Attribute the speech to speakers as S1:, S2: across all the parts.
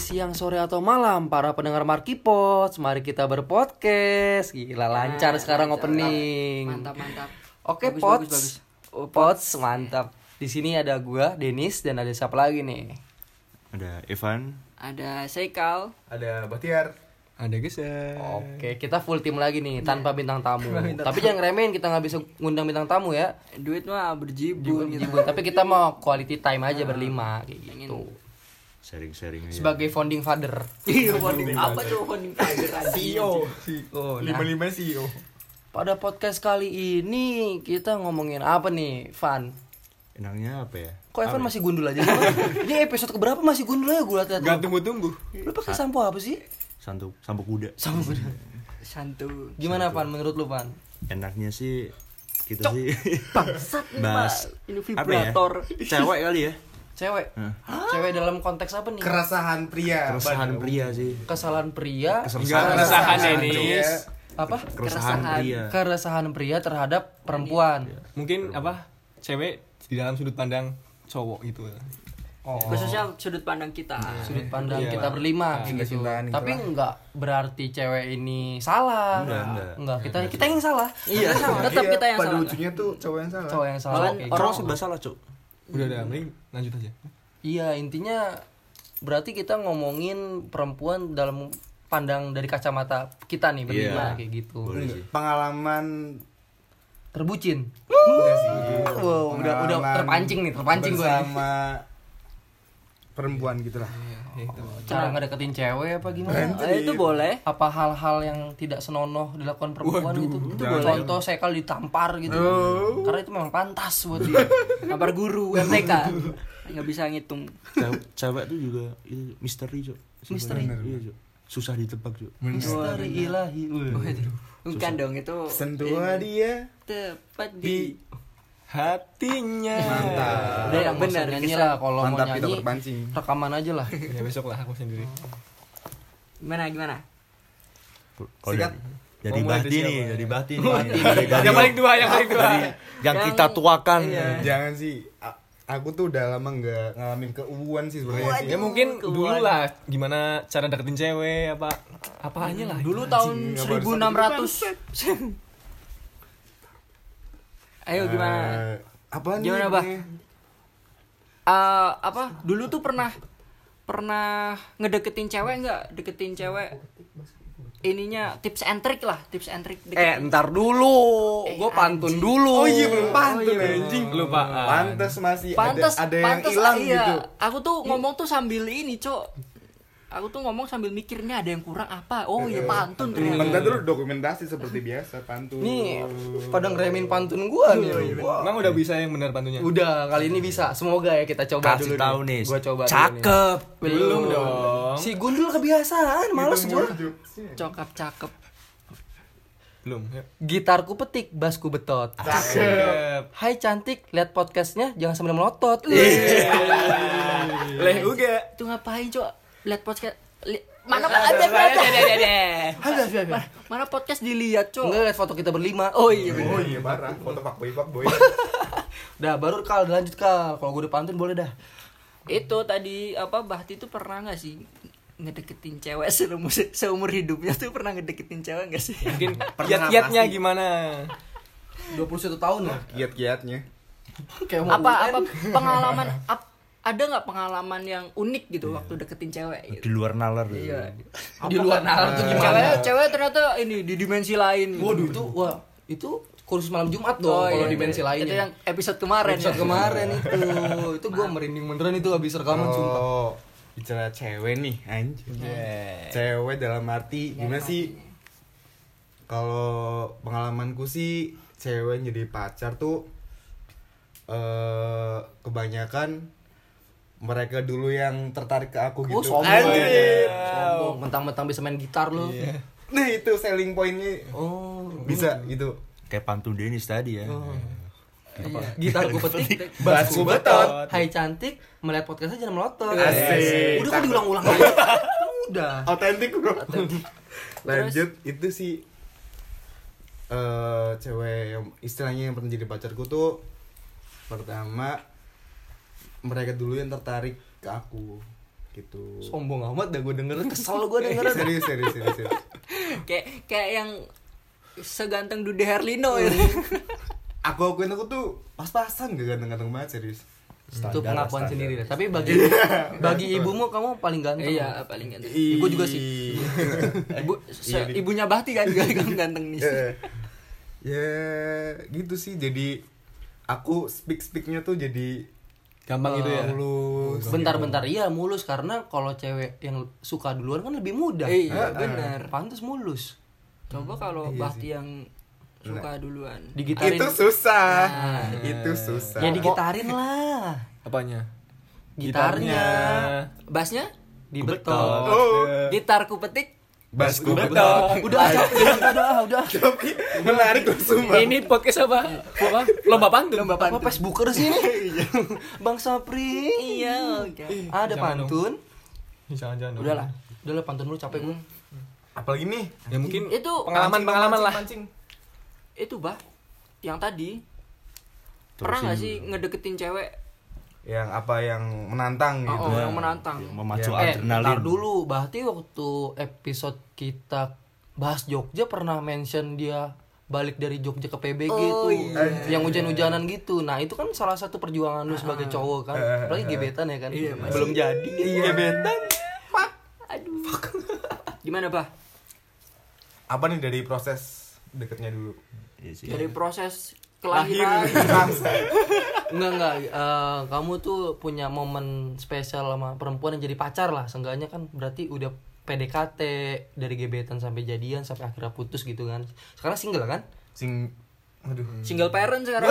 S1: siang, sore, atau malam Para pendengar Markipods, mari kita berpodcast Gila lancar
S2: Nah,
S1: sekarang
S2: lancar.
S1: opening
S2: Mantap, mantap.
S1: Oke
S2: Bagus,
S1: Pods,
S2: bagus,
S1: Pods, mantap Di sini ada gua, Denis, dan ada siapa lagi nih?
S3: Ada Evan.
S2: Ada Seikal.
S4: Ada Bahtiar. Ada Gesa.
S1: Oke, kita full tim lagi
S2: Nah.
S1: nih, tanpa bintang tamu Tapi jangan remehin, kita nggak bisa ngundang bintang tamu ya
S2: Duit mah berjibun gitu.
S1: Jibun. Tapi kita mau quality time
S2: Nah,
S1: aja berlima kayak gitu
S3: Sharing-sharing ya. aja.
S1: Sebagai founding father
S2: Iya, founding apa tuh founding tiger
S4: CEO. CEO. Lima lima CEO.
S1: Pada podcast kali ini kita ngomongin apa nih, Van?
S3: Enaknya apa ya?
S1: Kok Evan masih gundul aja? sih? ini episode keberapa masih gundul aja gue liat-liat
S4: Gak tunggu-tunggu.
S1: Lu pakai sampo apa sih?
S3: Santu, sampo kuda.
S1: Sampo
S2: Santu.
S1: Gimana Van menurut lu Van?
S3: Enaknya sih kita sih
S2: Bangsat nih,
S3: bahas
S2: Pak. Ini
S3: apa ya?
S2: vibrator.
S3: Cewek kali ya.
S1: Cewek? Cewek dalam konteks apa nih?
S4: Keresahan pria.
S3: Keresahan pria sih.
S1: Kesalahan pria
S4: Keresahan
S5: Denis.
S1: Apa?
S3: Keresahan pria.
S1: Keresahan pria terhap perempuan
S5: Iya. Mungkin apa cewek di dalam sudut pandang cowok gitu.
S2: Khususnya sudut pandang kita.
S1: sudut pandang
S5: Iya.
S1: kita berlima
S4: Iya,
S1: gitu.
S4: cintaan
S1: Tapi
S4: kita.
S1: nggak berarti cewek ini salah.
S3: Enggak, enggak.
S1: kita kita yang salah.
S2: Iya, tetap kita yang
S4: Pada
S2: salah.
S4: ujungnya tuh cowok yang salah.
S1: Cowok yang salah.
S2: Malah
S1: Oke. gitu.
S3: Orang serba salah, Cuk.
S5: Udah udah, mending lanjut aja.
S1: Iya, intinya berarti kita ngomongin perempuan dalam pandang dari kacamata kita nih berlima
S3: Iya.
S1: kayak gitu.
S3: Boleh sih.
S4: Pengalaman
S1: Terbucin. Iya
S4: enggak sih.
S1: Wow, Oh, udah udah
S4: Pengalaman
S1: terpancing nih, terpancing gue.
S4: Iya. bersama perempuan gitu lah.
S1: Cara ngedeketin cewek apa gimana?
S2: Eh, itu boleh.
S1: Apa hal-hal yang tidak senonoh dilakukan perempuan gitu? Itu
S4: jangan.
S1: Contoh saya kalau ditampar gitu.
S4: Oh.
S1: Karena itu memang pantas buat dia.
S2: Kabar guru MTK. Nggak bisa ngitung.
S3: Cewek, cewek tuh juga itu misteri, Cuk. Sebenarnya.
S1: Misteri.
S3: Iya, Cuk. Susah ditebak, Cuk.
S1: Misteri ilahi.
S2: Bukan dong itu. eh,
S4: Sentuh dia
S2: Tepat
S4: di
S2: di.
S5: Hatinya.
S1: Udah yang benar nyanyi lah kalau mau
S4: Mantap, kita
S1: nyanyi.
S4: berpancing.
S1: Rekaman aja lah.
S5: Ya besok lah aku sendiri.
S2: Gimana gimana?
S3: Kalau
S4: Sikat.
S3: dari- dari
S5: Mau mulai
S3: Bahti
S5: dari
S3: nih,
S5: siapa?
S3: dari Bahti nih. Dari- dari-
S5: Yang paling tua, yang paling tua.
S3: yang kita tuakan.
S4: Jangan sih. A- Aku tuh udah lama nggak ngalamin keuuan sih sebenarnya. sih.
S5: Ya mungkin dulu lah gimana cara deketin cewek apa apaannya lah.
S1: Dulu tahun
S4: nggak baru
S1: 1600
S2: Ayo gimana?
S4: Eh, apa nih?
S2: Gimana, Bah?
S4: namanya?
S2: Eh, apa dulu tuh pernah pernah ngedeketin cewek nggak deketin cewek ininya tips and trick lah tips and trick
S1: Eh
S2: deketin. Eh,
S1: ntar dulu Gue pantun dulu
S4: Oh iya belum pantun anjing.
S5: Lupa.
S4: Pantes masih
S2: pantes
S4: ada, ada yang
S2: pantes,
S4: hilang
S2: iya.
S4: gitu.
S2: aku tuh ngomong tuh sambil ini cok aku tuh ngomong sambil mikirnya ada yang kurang apa oh ya pantun
S4: Bentar
S2: ternyata
S4: dulu dokumentasi seperti biasa pantun.
S1: Nih pada ngeremin pantun gua nih Wah.
S5: Emang udah bisa yang benar pantunya?
S1: Udah kali ini bisa Semoga ya kita coba dulu
S3: Kasih tahu
S1: nih.
S3: nih.
S1: Gua coba dulu nih.
S3: Cakep.
S1: Belum
S5: dong.
S1: Si Gundul kebiasaan Males gua
S2: cokap cakep
S5: Belum. Yuk.
S1: Gitarku petik Basku betot
S5: Cakep.
S1: Hai cantik Lihat podcastnya Jangan sambil melotot
S5: Leh uga.
S2: itu ngapain cok lihat podcast li- mana ada mana mana podcast dilihat cok
S1: Enggak lihat foto kita berlima Oh iya
S4: Oh iya parah, foto Pak Boy Pak Boy.
S1: Dah baru kal lanjut kal Kalau gue udah pantun boleh dah
S2: itu tadi apa Bahti tuh pernah nggak sih ngedeketin cewek seumur seumur hidupnya tuh pernah ngedeketin cewek nggak sih
S5: Mungkin kiat-kiatnya gimana?
S1: 21 tahun lah
S4: Kiat-kiatnya.
S1: Kayak mau
S2: apa apa
S1: UN.
S2: pengalaman ap- ada nggak pengalaman yang unik gitu
S1: Iya.
S2: waktu deketin cewek gitu?
S3: Di luar nalar.
S2: iya
S1: Di luar nalar tuh gimana
S2: cewek cewek ternyata ini di dimensi lain gitu.
S1: Waduh itu wah itu kursus malam Jumat dong
S2: Oh,
S1: kalau
S2: iya,
S1: di bensi
S2: iya.
S1: lainnya.
S2: itu yang episode kemarin
S1: ya. episode
S2: ya?
S1: kemarin itu itu gue merinding beneran itu habis rekaman sumpah.
S4: Oh, bicara cewek nih anjing. Cewek dalam arti gimana sih? Kalau pengalamanku sih cewek jadi pacar tuh eh kebanyakan mereka dulu yang tertarik ke aku gitu.
S1: Oh sombong.
S4: Anjing.
S1: Sombong mentang-mentang bisa main gitar lo.
S4: Nah itu selling pointnya
S1: Oh.
S4: bisa gitu.
S3: Kayak pantun Denis tadi ya.
S4: Iya.
S1: Gitar gue petik,
S4: Basku betot.
S1: Hai cantik, melihat podcast aja melotot.
S2: Iya,
S4: Asik.
S1: Udah kok diulang-ulang aja. Udah.
S4: Autentik bro. Lanjut itu sih eh cewek yang- istilahnya yang pernah jadi pacarku tuh pertama mereka dulu yang tertarik ke aku gitu Eh,
S1: Sombong amat dah gue dengerin kesel gue dengerin.
S4: serius serius serius, serius.
S2: kayak kayak yang seganteng Dude Herlino
S1: Hmm.
S2: ya.
S4: aku akuin aku tuh pas-pasan gak ganteng-ganteng banget serius
S1: itu
S4: Standar
S1: pengakuan
S4: lah, standar. Iya.
S1: sendiri deh. Tapi bagi bagi ibumu kamu paling ganteng.
S2: iya paling ganteng.
S1: Ya
S4: Ih.
S1: Gua juga sih.
S2: Ibu se-
S4: Iya, di-
S2: ibunya Bahti kan juga kan ganteng nih.
S4: ya ya gitu sih jadi aku speak speaknya tuh jadi
S5: Gampang gitu ya.
S4: mulus
S1: Bentar-bentar iya mulus karena kalau cewek yang suka duluan kan lebih muda.
S2: Iya benar.
S1: Pantes mulus.
S2: Coba kalau
S1: Iya
S2: Bahti yang suka duluan.
S1: Digitarin.
S4: itu susah
S1: Ah,
S4: itu susah
S1: Ya digitarin lah.
S5: Apanya?
S1: Gitarnya.
S2: Basnya?
S1: Dibetok.
S4: oh
S2: Gitarku petik.
S4: basku
S5: Oh,
S4: betul
S1: Udah, udah, udah, udah.
S4: tapi menarik langsung Bang.
S5: Ini podcast apa? Apa? Lomba pantun. Lomba
S1: Apa Facebooker sih ini? Bang Sapri.
S2: Iya, oke.
S1: Ada
S5: Jangan dong.
S1: pantun.
S5: Jangan-jangan. dong.
S1: Udahlah. Udahlah pantun lu capek gue.
S4: apalagi nih
S5: Ya mungkin
S2: Itu
S5: pengalaman-pengalaman lah.
S4: mancing
S2: Itu Bah yang tadi pernah nggak sih ngedeketin cewek
S4: yang apa yang menantang gitu
S2: oh, yang menantang?
S3: memacu
S1: Eh,
S3: adrenalin
S1: ntar dulu. Berarti waktu episode kita bahas Jogja pernah mention dia balik dari Jogja ke PB gitu. Yang hujan-hujanan gitu. Nah, itu kan salah satu perjuangan lu sebagai cowok kan. Apalagi gebetan ya kan. Belum jadi.
S4: gebetan
S2: Gimana Bah?
S4: apa nih dari proses deketnya dulu
S3: Iya sih.
S2: Dari proses
S1: Iya.
S2: kelahiran
S1: Enggak enggak Eh, kamu tuh punya momen spesial sama perempuan yang jadi pacar lah. Seenggaknya kan berarti udah PDKT dari gebetan sampai jadian sampai akhirnya putus gitu kan. Sekarang single kan?
S4: sing aduh
S2: single parent sekarang.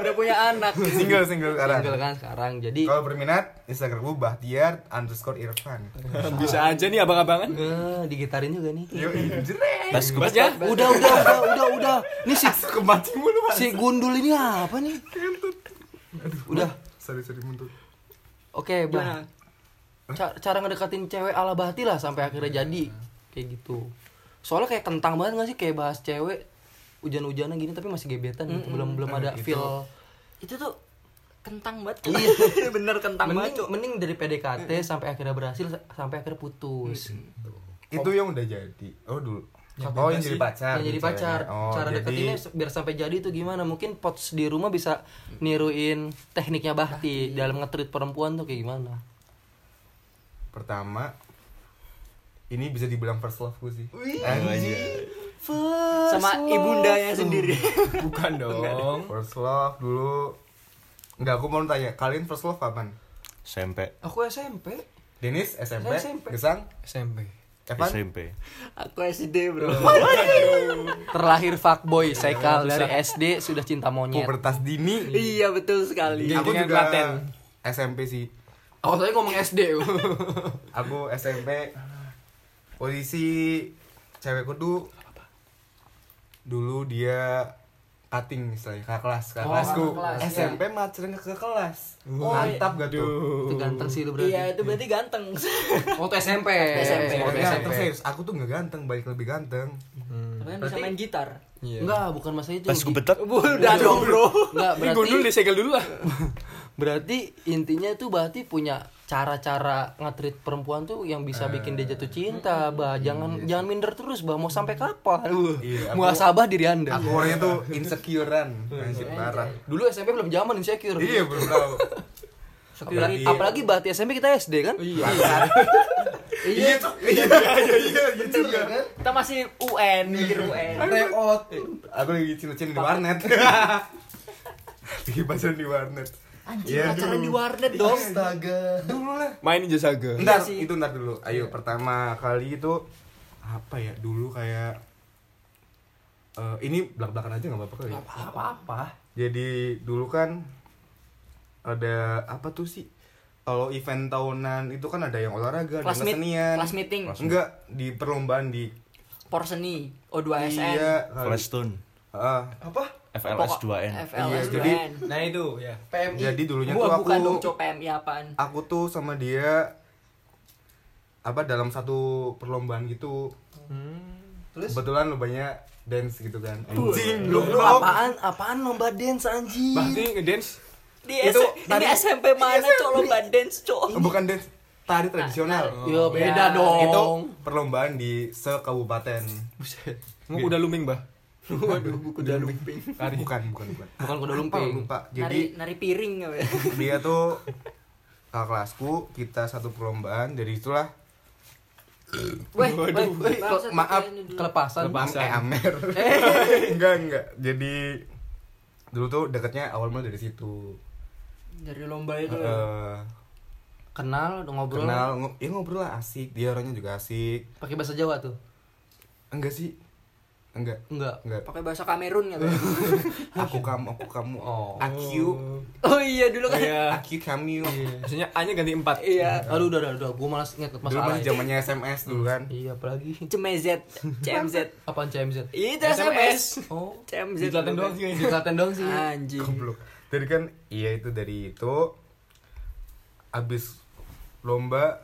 S2: Udah punya anak.
S4: single single sekarang
S1: Single kan sekarang. Jadi
S4: kalau berminat instagram gue bahtiar underscore irfan
S5: Bisa aja nih abang-abangan.
S1: eh, digitarin juga nih.
S4: yo jreng
S5: Bas
S1: Ya,
S5: kubasnya.
S1: Udah udah udah udah udah. Nih si
S4: kemancing mulu mas
S1: si Gundul ini apa nih? Udah.
S4: sorry sorry muntut
S1: Oke, Bang.
S2: Gimana?
S1: Ca- cara ngedekatin cewek ala Bahti lah sampai akhirnya jadi kayak gitu. Soalnya kayak kentang banget gak sih kayak bahas cewek hujan-hujanan gini tapi masih gebetan gitu. belum belum ada feel
S2: Itu tuh kentang banget. Iya, Bener kentang
S1: mending,
S2: banget.
S1: mending dari PDKT sampai akhirnya berhasil sa- sampai akhirnya putus
S4: itu yang udah jadi oh dulu oh yang jadi pacar
S1: Ya, Yang jadi
S4: ceweknya.
S1: pacar
S4: oh,
S1: cara
S4: jadi
S1: deketinnya se- biar sampai jadi itu gimana mungkin pots di rumah bisa niruin tekniknya Bahti, dalam ngetrit perempuan tuh kayak gimana
S4: pertama ini bisa dibilang first love gue sih
S2: Sama ibundanya sendiri.
S5: Bukan dong.
S4: first love dulu Enggak, aku mau tanya, kalian first love kapan?
S3: SMP
S1: aku SMP
S4: Denis SMP,
S1: Saya SMP.
S4: Gesang,
S5: SMP.
S4: Evan,
S3: SMP
S2: Aku SD, Bro.
S1: terlahir fuckboy sekal dari SD sudah cinta monyet
S4: pubertas dini.
S2: iya, betul sekali.
S4: Aku
S5: Geng-gengan
S4: juga
S5: Klaten.
S4: SMP sih.
S1: Oh, saya ngomong SD.
S4: Aku SMP posisi cewekku tuh dulu dia cutting misalnya ke kelas ke kelasku SMP macetnya ke kelas mantap gak
S1: itu
S4: tuh
S1: ganteng sih lu berarti.
S2: Iya, itu berarti ganteng.
S1: Waktu SMP.
S2: SMP.
S1: Waktu
S4: Ganteng,
S1: SMP.
S4: serius aku tuh nggak ganteng balik lebih ganteng
S2: Tapi bisa main gitu. gitar.
S5: Iya.
S1: Enggak, bukan masa itu.
S3: pas gue betak
S2: Udah dong, Bro.
S1: Enggak, berarti
S5: Gundul disegel dulu lah.
S1: berarti intinya tuh berarti punya cara-cara ngatrit perempuan tuh yang bisa
S4: Eh,
S1: bikin dia jatuh cinta, Bah. Jangan jangan minder terus, Bah. Mau sampai kapan? Uh,
S4: Iya, aku-
S1: muasabah diri Anda.
S4: aku orangnya tuh insecurean anjir parah
S1: Dulu SMP belum zaman insecure.
S4: iya belum tahu
S1: Apalagi, apalagi Bah, di SMP kita SD kan?
S4: Iya. Iya, Cok. iya, iya, iya, iya, juga.
S2: Kita masih UN, mikir UN.
S4: Iya, Reot. Aku lagi cilin-cilin di warnet. Lagi pacaran di warnet. Anjir,
S2: Pacaran di warnet dong. Iya
S4: Astaga. Dulu lah.
S5: Main Ninja Saga.
S4: Ntar, itu ntar dulu. Ayo, pertama kali itu apa ya? Dulu kayak eh, ini belak-belakan aja nggak apa-apa kali. ya?
S1: Apa-apa.
S4: Jadi dulu kan ada apa tuh sih? Kalau event tahunan itu kan ada yang olahraga, ada
S2: Kelas meet-
S4: yang kesenian.
S2: kelas meeting.
S4: Enggak, di perlombaan di
S2: Porseni, O2SN.
S4: Iya, kali.
S3: Flashstone
S4: Ah, apa?
S3: FLS 2N
S2: FLS
S4: Iya, jadi-
S5: Nah itu ya.
S1: PMI.
S4: Jadi dulunya
S2: Gua
S4: tuh
S2: bukan
S4: aku
S2: dong cowok PMI apaan.
S4: aku tuh sama dia apa dalam satu perlombaan gitu. Kebetulan lu banyak dance gitu kan. Anjing, lu
S1: Lu apaan? Apaan lomba dance anjing?
S5: Berarti ngedance
S2: Di
S4: Itu
S2: S- ini
S4: tadi- Iya.
S2: SMP mana cowok lomba dance cowok?
S4: Bukan dance. tari tradisional.
S1: Yo beda dong.
S4: Itu perlombaan di sekabupaten.
S1: Buset.
S5: Mau kuda luming, Bah?
S1: Waduh, buku udah lumping.
S5: Tari.
S4: Bukan, bukan, bukan.
S1: Bukan kuda
S4: Lupa,
S1: lumping.
S4: lupa.
S2: nari
S4: Jadi
S2: nari piring apa ya?
S4: dia tuh kakak kelasku kita satu perlombaan dari itulah
S2: Weh,
S1: Weh, weh,
S2: bangsat,
S1: kok- maaf,
S2: ini dulu.
S1: kelepasan.
S5: Kelepasan.
S4: Eh, Amer.
S1: Eh.
S4: enggak, enggak. Jadi dulu tuh deketnya awal mula dari situ.
S2: dari lomba itu.
S4: Eh,
S1: Kenal, udah ngobrol.
S4: kenal, ngo- ya ngobrol lah asik. Dia orangnya juga asik.
S1: Pakai bahasa Jawa tuh.
S4: Enggak sih? Enggak.
S1: Enggak.
S4: Enggak.
S2: Pakai bahasa Kamerun gitu.
S4: Aku kamu, aku kamu.
S1: Oh. Ya.
S4: Aku,
S2: oh iya dulu kan.
S5: Iya.
S4: aku kamu.
S5: Maksudnya A-nya ganti 4.
S2: Iya.
S1: Aduh, udah, udah, udah. Gue malas inget
S4: Dulu
S1: masalah.
S4: masih
S1: ini.
S4: zamannya SMS dulu kan.
S1: Iya, apalagi.
S2: Cemezet, CMZ.
S1: Apaan CMZ?
S4: Iya.
S2: Itu SMS.
S1: Oh,
S2: CMZ.
S5: Di Klaten doang sih
S1: di
S5: kayaknya.
S1: Klaten dong sih. Iya.
S4: Ah,
S2: Anjing.
S4: Goblok. Dari kan iya itu dari itu abis lomba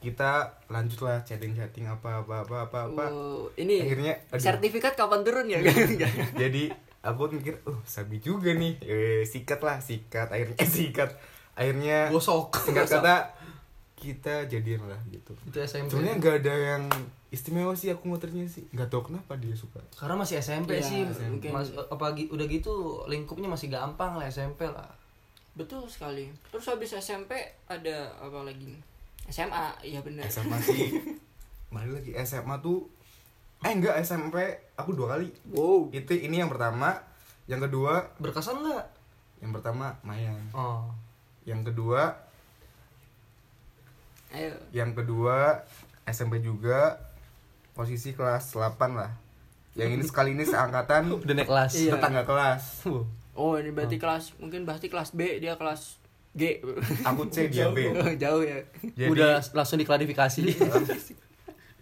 S4: kita lanjutlah chatting-chatting apa apa apa apa apa.
S2: Oh, ini
S4: Akhirnya aduh.
S2: sertifikat kapan turun ya?
S4: jadi aku mikir oh sabi juga nih eh, sikat lah sikat akhirnya eh, sikat akhirnya
S1: Gosok.
S4: singkat kata kita jadian lah gitu
S1: Itu SMP.
S4: sebenarnya nggak ada yang istimewa sih aku motornya sih nggak tahu kenapa dia suka
S1: Karena masih SMP
S2: Iya,
S1: sih.
S2: mungkin.
S1: Mas, apa gi- udah gitu lingkupnya masih gampang lah SMP lah.
S2: Betul sekali. Terus habis SMP ada apa lagi? nih? SMA, iya benar.
S4: SMA sih balik lagi SMA tuh eh enggak SMP aku dua kali
S2: Wow.
S4: itu ini yang pertama yang kedua
S1: Berkesan nggak?
S4: yang pertama Mayan
S1: Oh.
S4: yang kedua
S2: Ayo.
S4: yang kedua SMP juga posisi kelas 8 lah yang ini sekali ini seangkatan
S1: Udah naik kelas.
S2: Iya.
S4: tetangga kelas
S2: Oh, ini berarti kelas mungkin berarti kelas B, dia kelas G.
S4: aku C dia B
S2: Jauh ya.
S4: jadi
S1: Udah langsung diklarifikasi.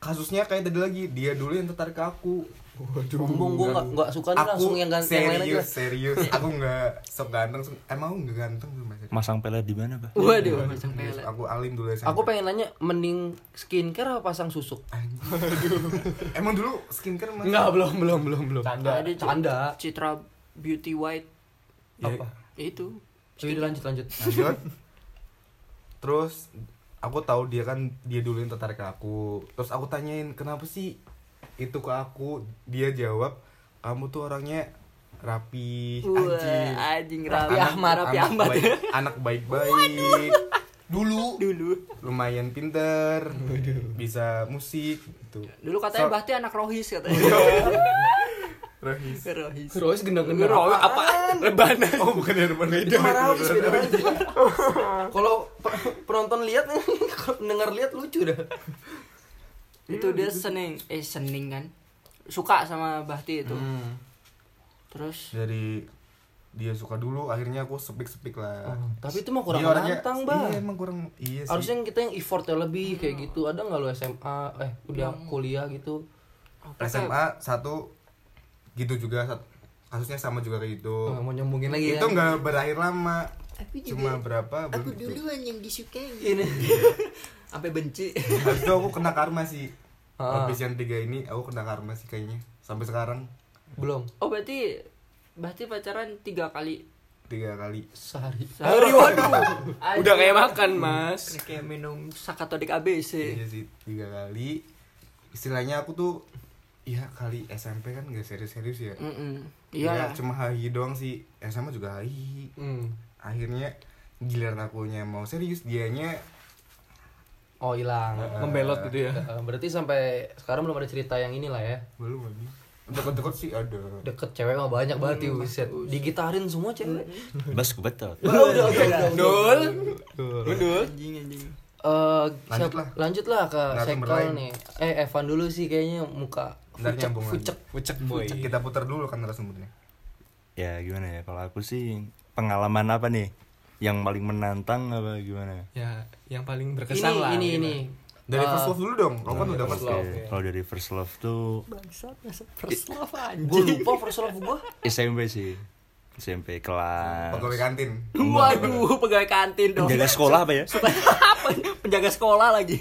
S4: kasusnya kayak tadi lagi dia dulu yang tertarik ke aku waduh
S1: Ngomong gue nggak nggak suka nih langsung yang ganteng yang
S4: serius,
S1: lain aja. lah.
S4: serius aku nggak sok ganteng sok- emang aku nggak ganteng dulu
S1: Iya,
S4: mas
S3: Masang pelet di mana, Bah?
S2: Waduh, macam pelet.
S4: aku alim dulu SMP.
S1: Aku pengen nanya mending skincare apa pasang susuk?
S4: emang dulu skincare mas
S1: belum belum belum belum.
S5: Canda.
S2: Ada Ci-
S1: Canda.
S2: Citra Beauty White
S4: Ya,
S1: Apa?
S2: itu.
S1: Yaudah Iya. lanjut lanjut.
S4: lanjut terus aku tahu dia kan dia dulu yang tertarik ke aku terus aku tanyain kenapa sih itu ke aku dia jawab kamu tuh orangnya rapi anjing
S2: Wah, anjing rapi
S4: Anak-
S2: Ahmad, rapi
S4: anak
S2: Ahmad.
S4: baik- anak baik-baik dulu
S2: Dulu.
S4: lumayan pinter bisa musik gitu
S2: Dulu katanya
S4: So-
S2: Bahti anak Rohis katanya.
S4: Rohis.
S2: Iya. Rohis.
S1: Terus gendang-gendang.
S2: Rohis apa? Rebana.
S4: oh bukan dari mana itu
S1: Marah habis beda aja. Kalau pe- penonton lihat nih, kalau pendengar lihat lucu dah.
S2: itu dia seneng eh seneng kan suka sama Bahti itu
S1: Hmm.
S2: terus
S4: dari dia suka dulu akhirnya aku sepik sepik lah
S1: Oh, Tapi itu mah kurang
S4: Dia orangnya-
S1: menantang, Bang.
S4: iya emang kurang iya sih
S1: Harusnya kita yang effortnya lebih kayak gitu. Ada nggak lo SMA eh udah kuliah gitu?
S2: apa kayak-
S4: SMA satu gitu juga sat- kasusnya sama juga kayak gitu
S1: Oh, mau nyambungin lagi
S4: itu
S1: ya.
S4: nggak berakhir lama cuma berapa gitu. aku
S2: yang disukai ini sampai benci
S4: habis itu aku kena karma sih
S1: Ah.
S4: habis yang tiga ini aku kena karma sih kayaknya sampai sekarang
S1: Belum.
S2: oh berarti Bahti pacaran tiga kali
S4: tiga kali
S1: Sehari.
S2: sehari waduh
S5: Udah kayak makan, Mas.
S2: kayak minum sakatodik ABC
S4: iya sih tiga kali istilahnya aku tuh ya kali SMP kan nggak serius-serius ya
S1: Mm,
S2: Mm-mm.
S4: Ya,
S2: iya
S4: cuma HI doang sih SMA juga HI
S1: Hmm.
S4: akhirnya giliran akunya mau serius dianya
S1: Oh hilang.
S5: Membelot gitu ya.
S1: Eh, Berarti sampai sekarang belum ada cerita yang inilah ya.
S4: belum lagi deket-deket sih ada
S1: Deket cewek mah banyak
S4: Hmm,
S1: banget tuh, buset. Digitarin semua cewek.
S3: Bas kebetot.
S1: Oh, udah, udah, udah, udah.
S5: Dul.
S2: anjing anjing
S1: Eh,
S4: Lanjut
S1: siap-
S4: lah.
S1: lanjutlah ke
S4: Narasumber
S1: Sekol
S4: lain.
S1: nih. Eh, Evan dulu sih kayaknya muka fucek,
S4: Ntar nyambung lagi.
S1: fucek.
S5: Wecek boy.
S4: kita putar dulu kan narasumbernya
S3: Ya gimana ya? Kalau aku sih pengalaman apa nih? Yang paling menantang apa gimana?
S5: Ya, yang paling
S1: Ini,
S5: berkesan lah.
S1: ini,
S5: gitu.
S1: ini.
S4: dari
S1: Eh,
S4: first love dulu dong lo kan udah first love
S3: Oke, Kalau dari first love tuh
S2: bangsat masa first love
S1: Gue
S2: anjing
S1: lupa first love gue.
S3: SMP sih. SMP kelas.
S4: pegawai kantin
S2: waduh pegawai kantin dong
S3: Penjaga sekolah apa ya?
S2: apa penjaga sekolah lagi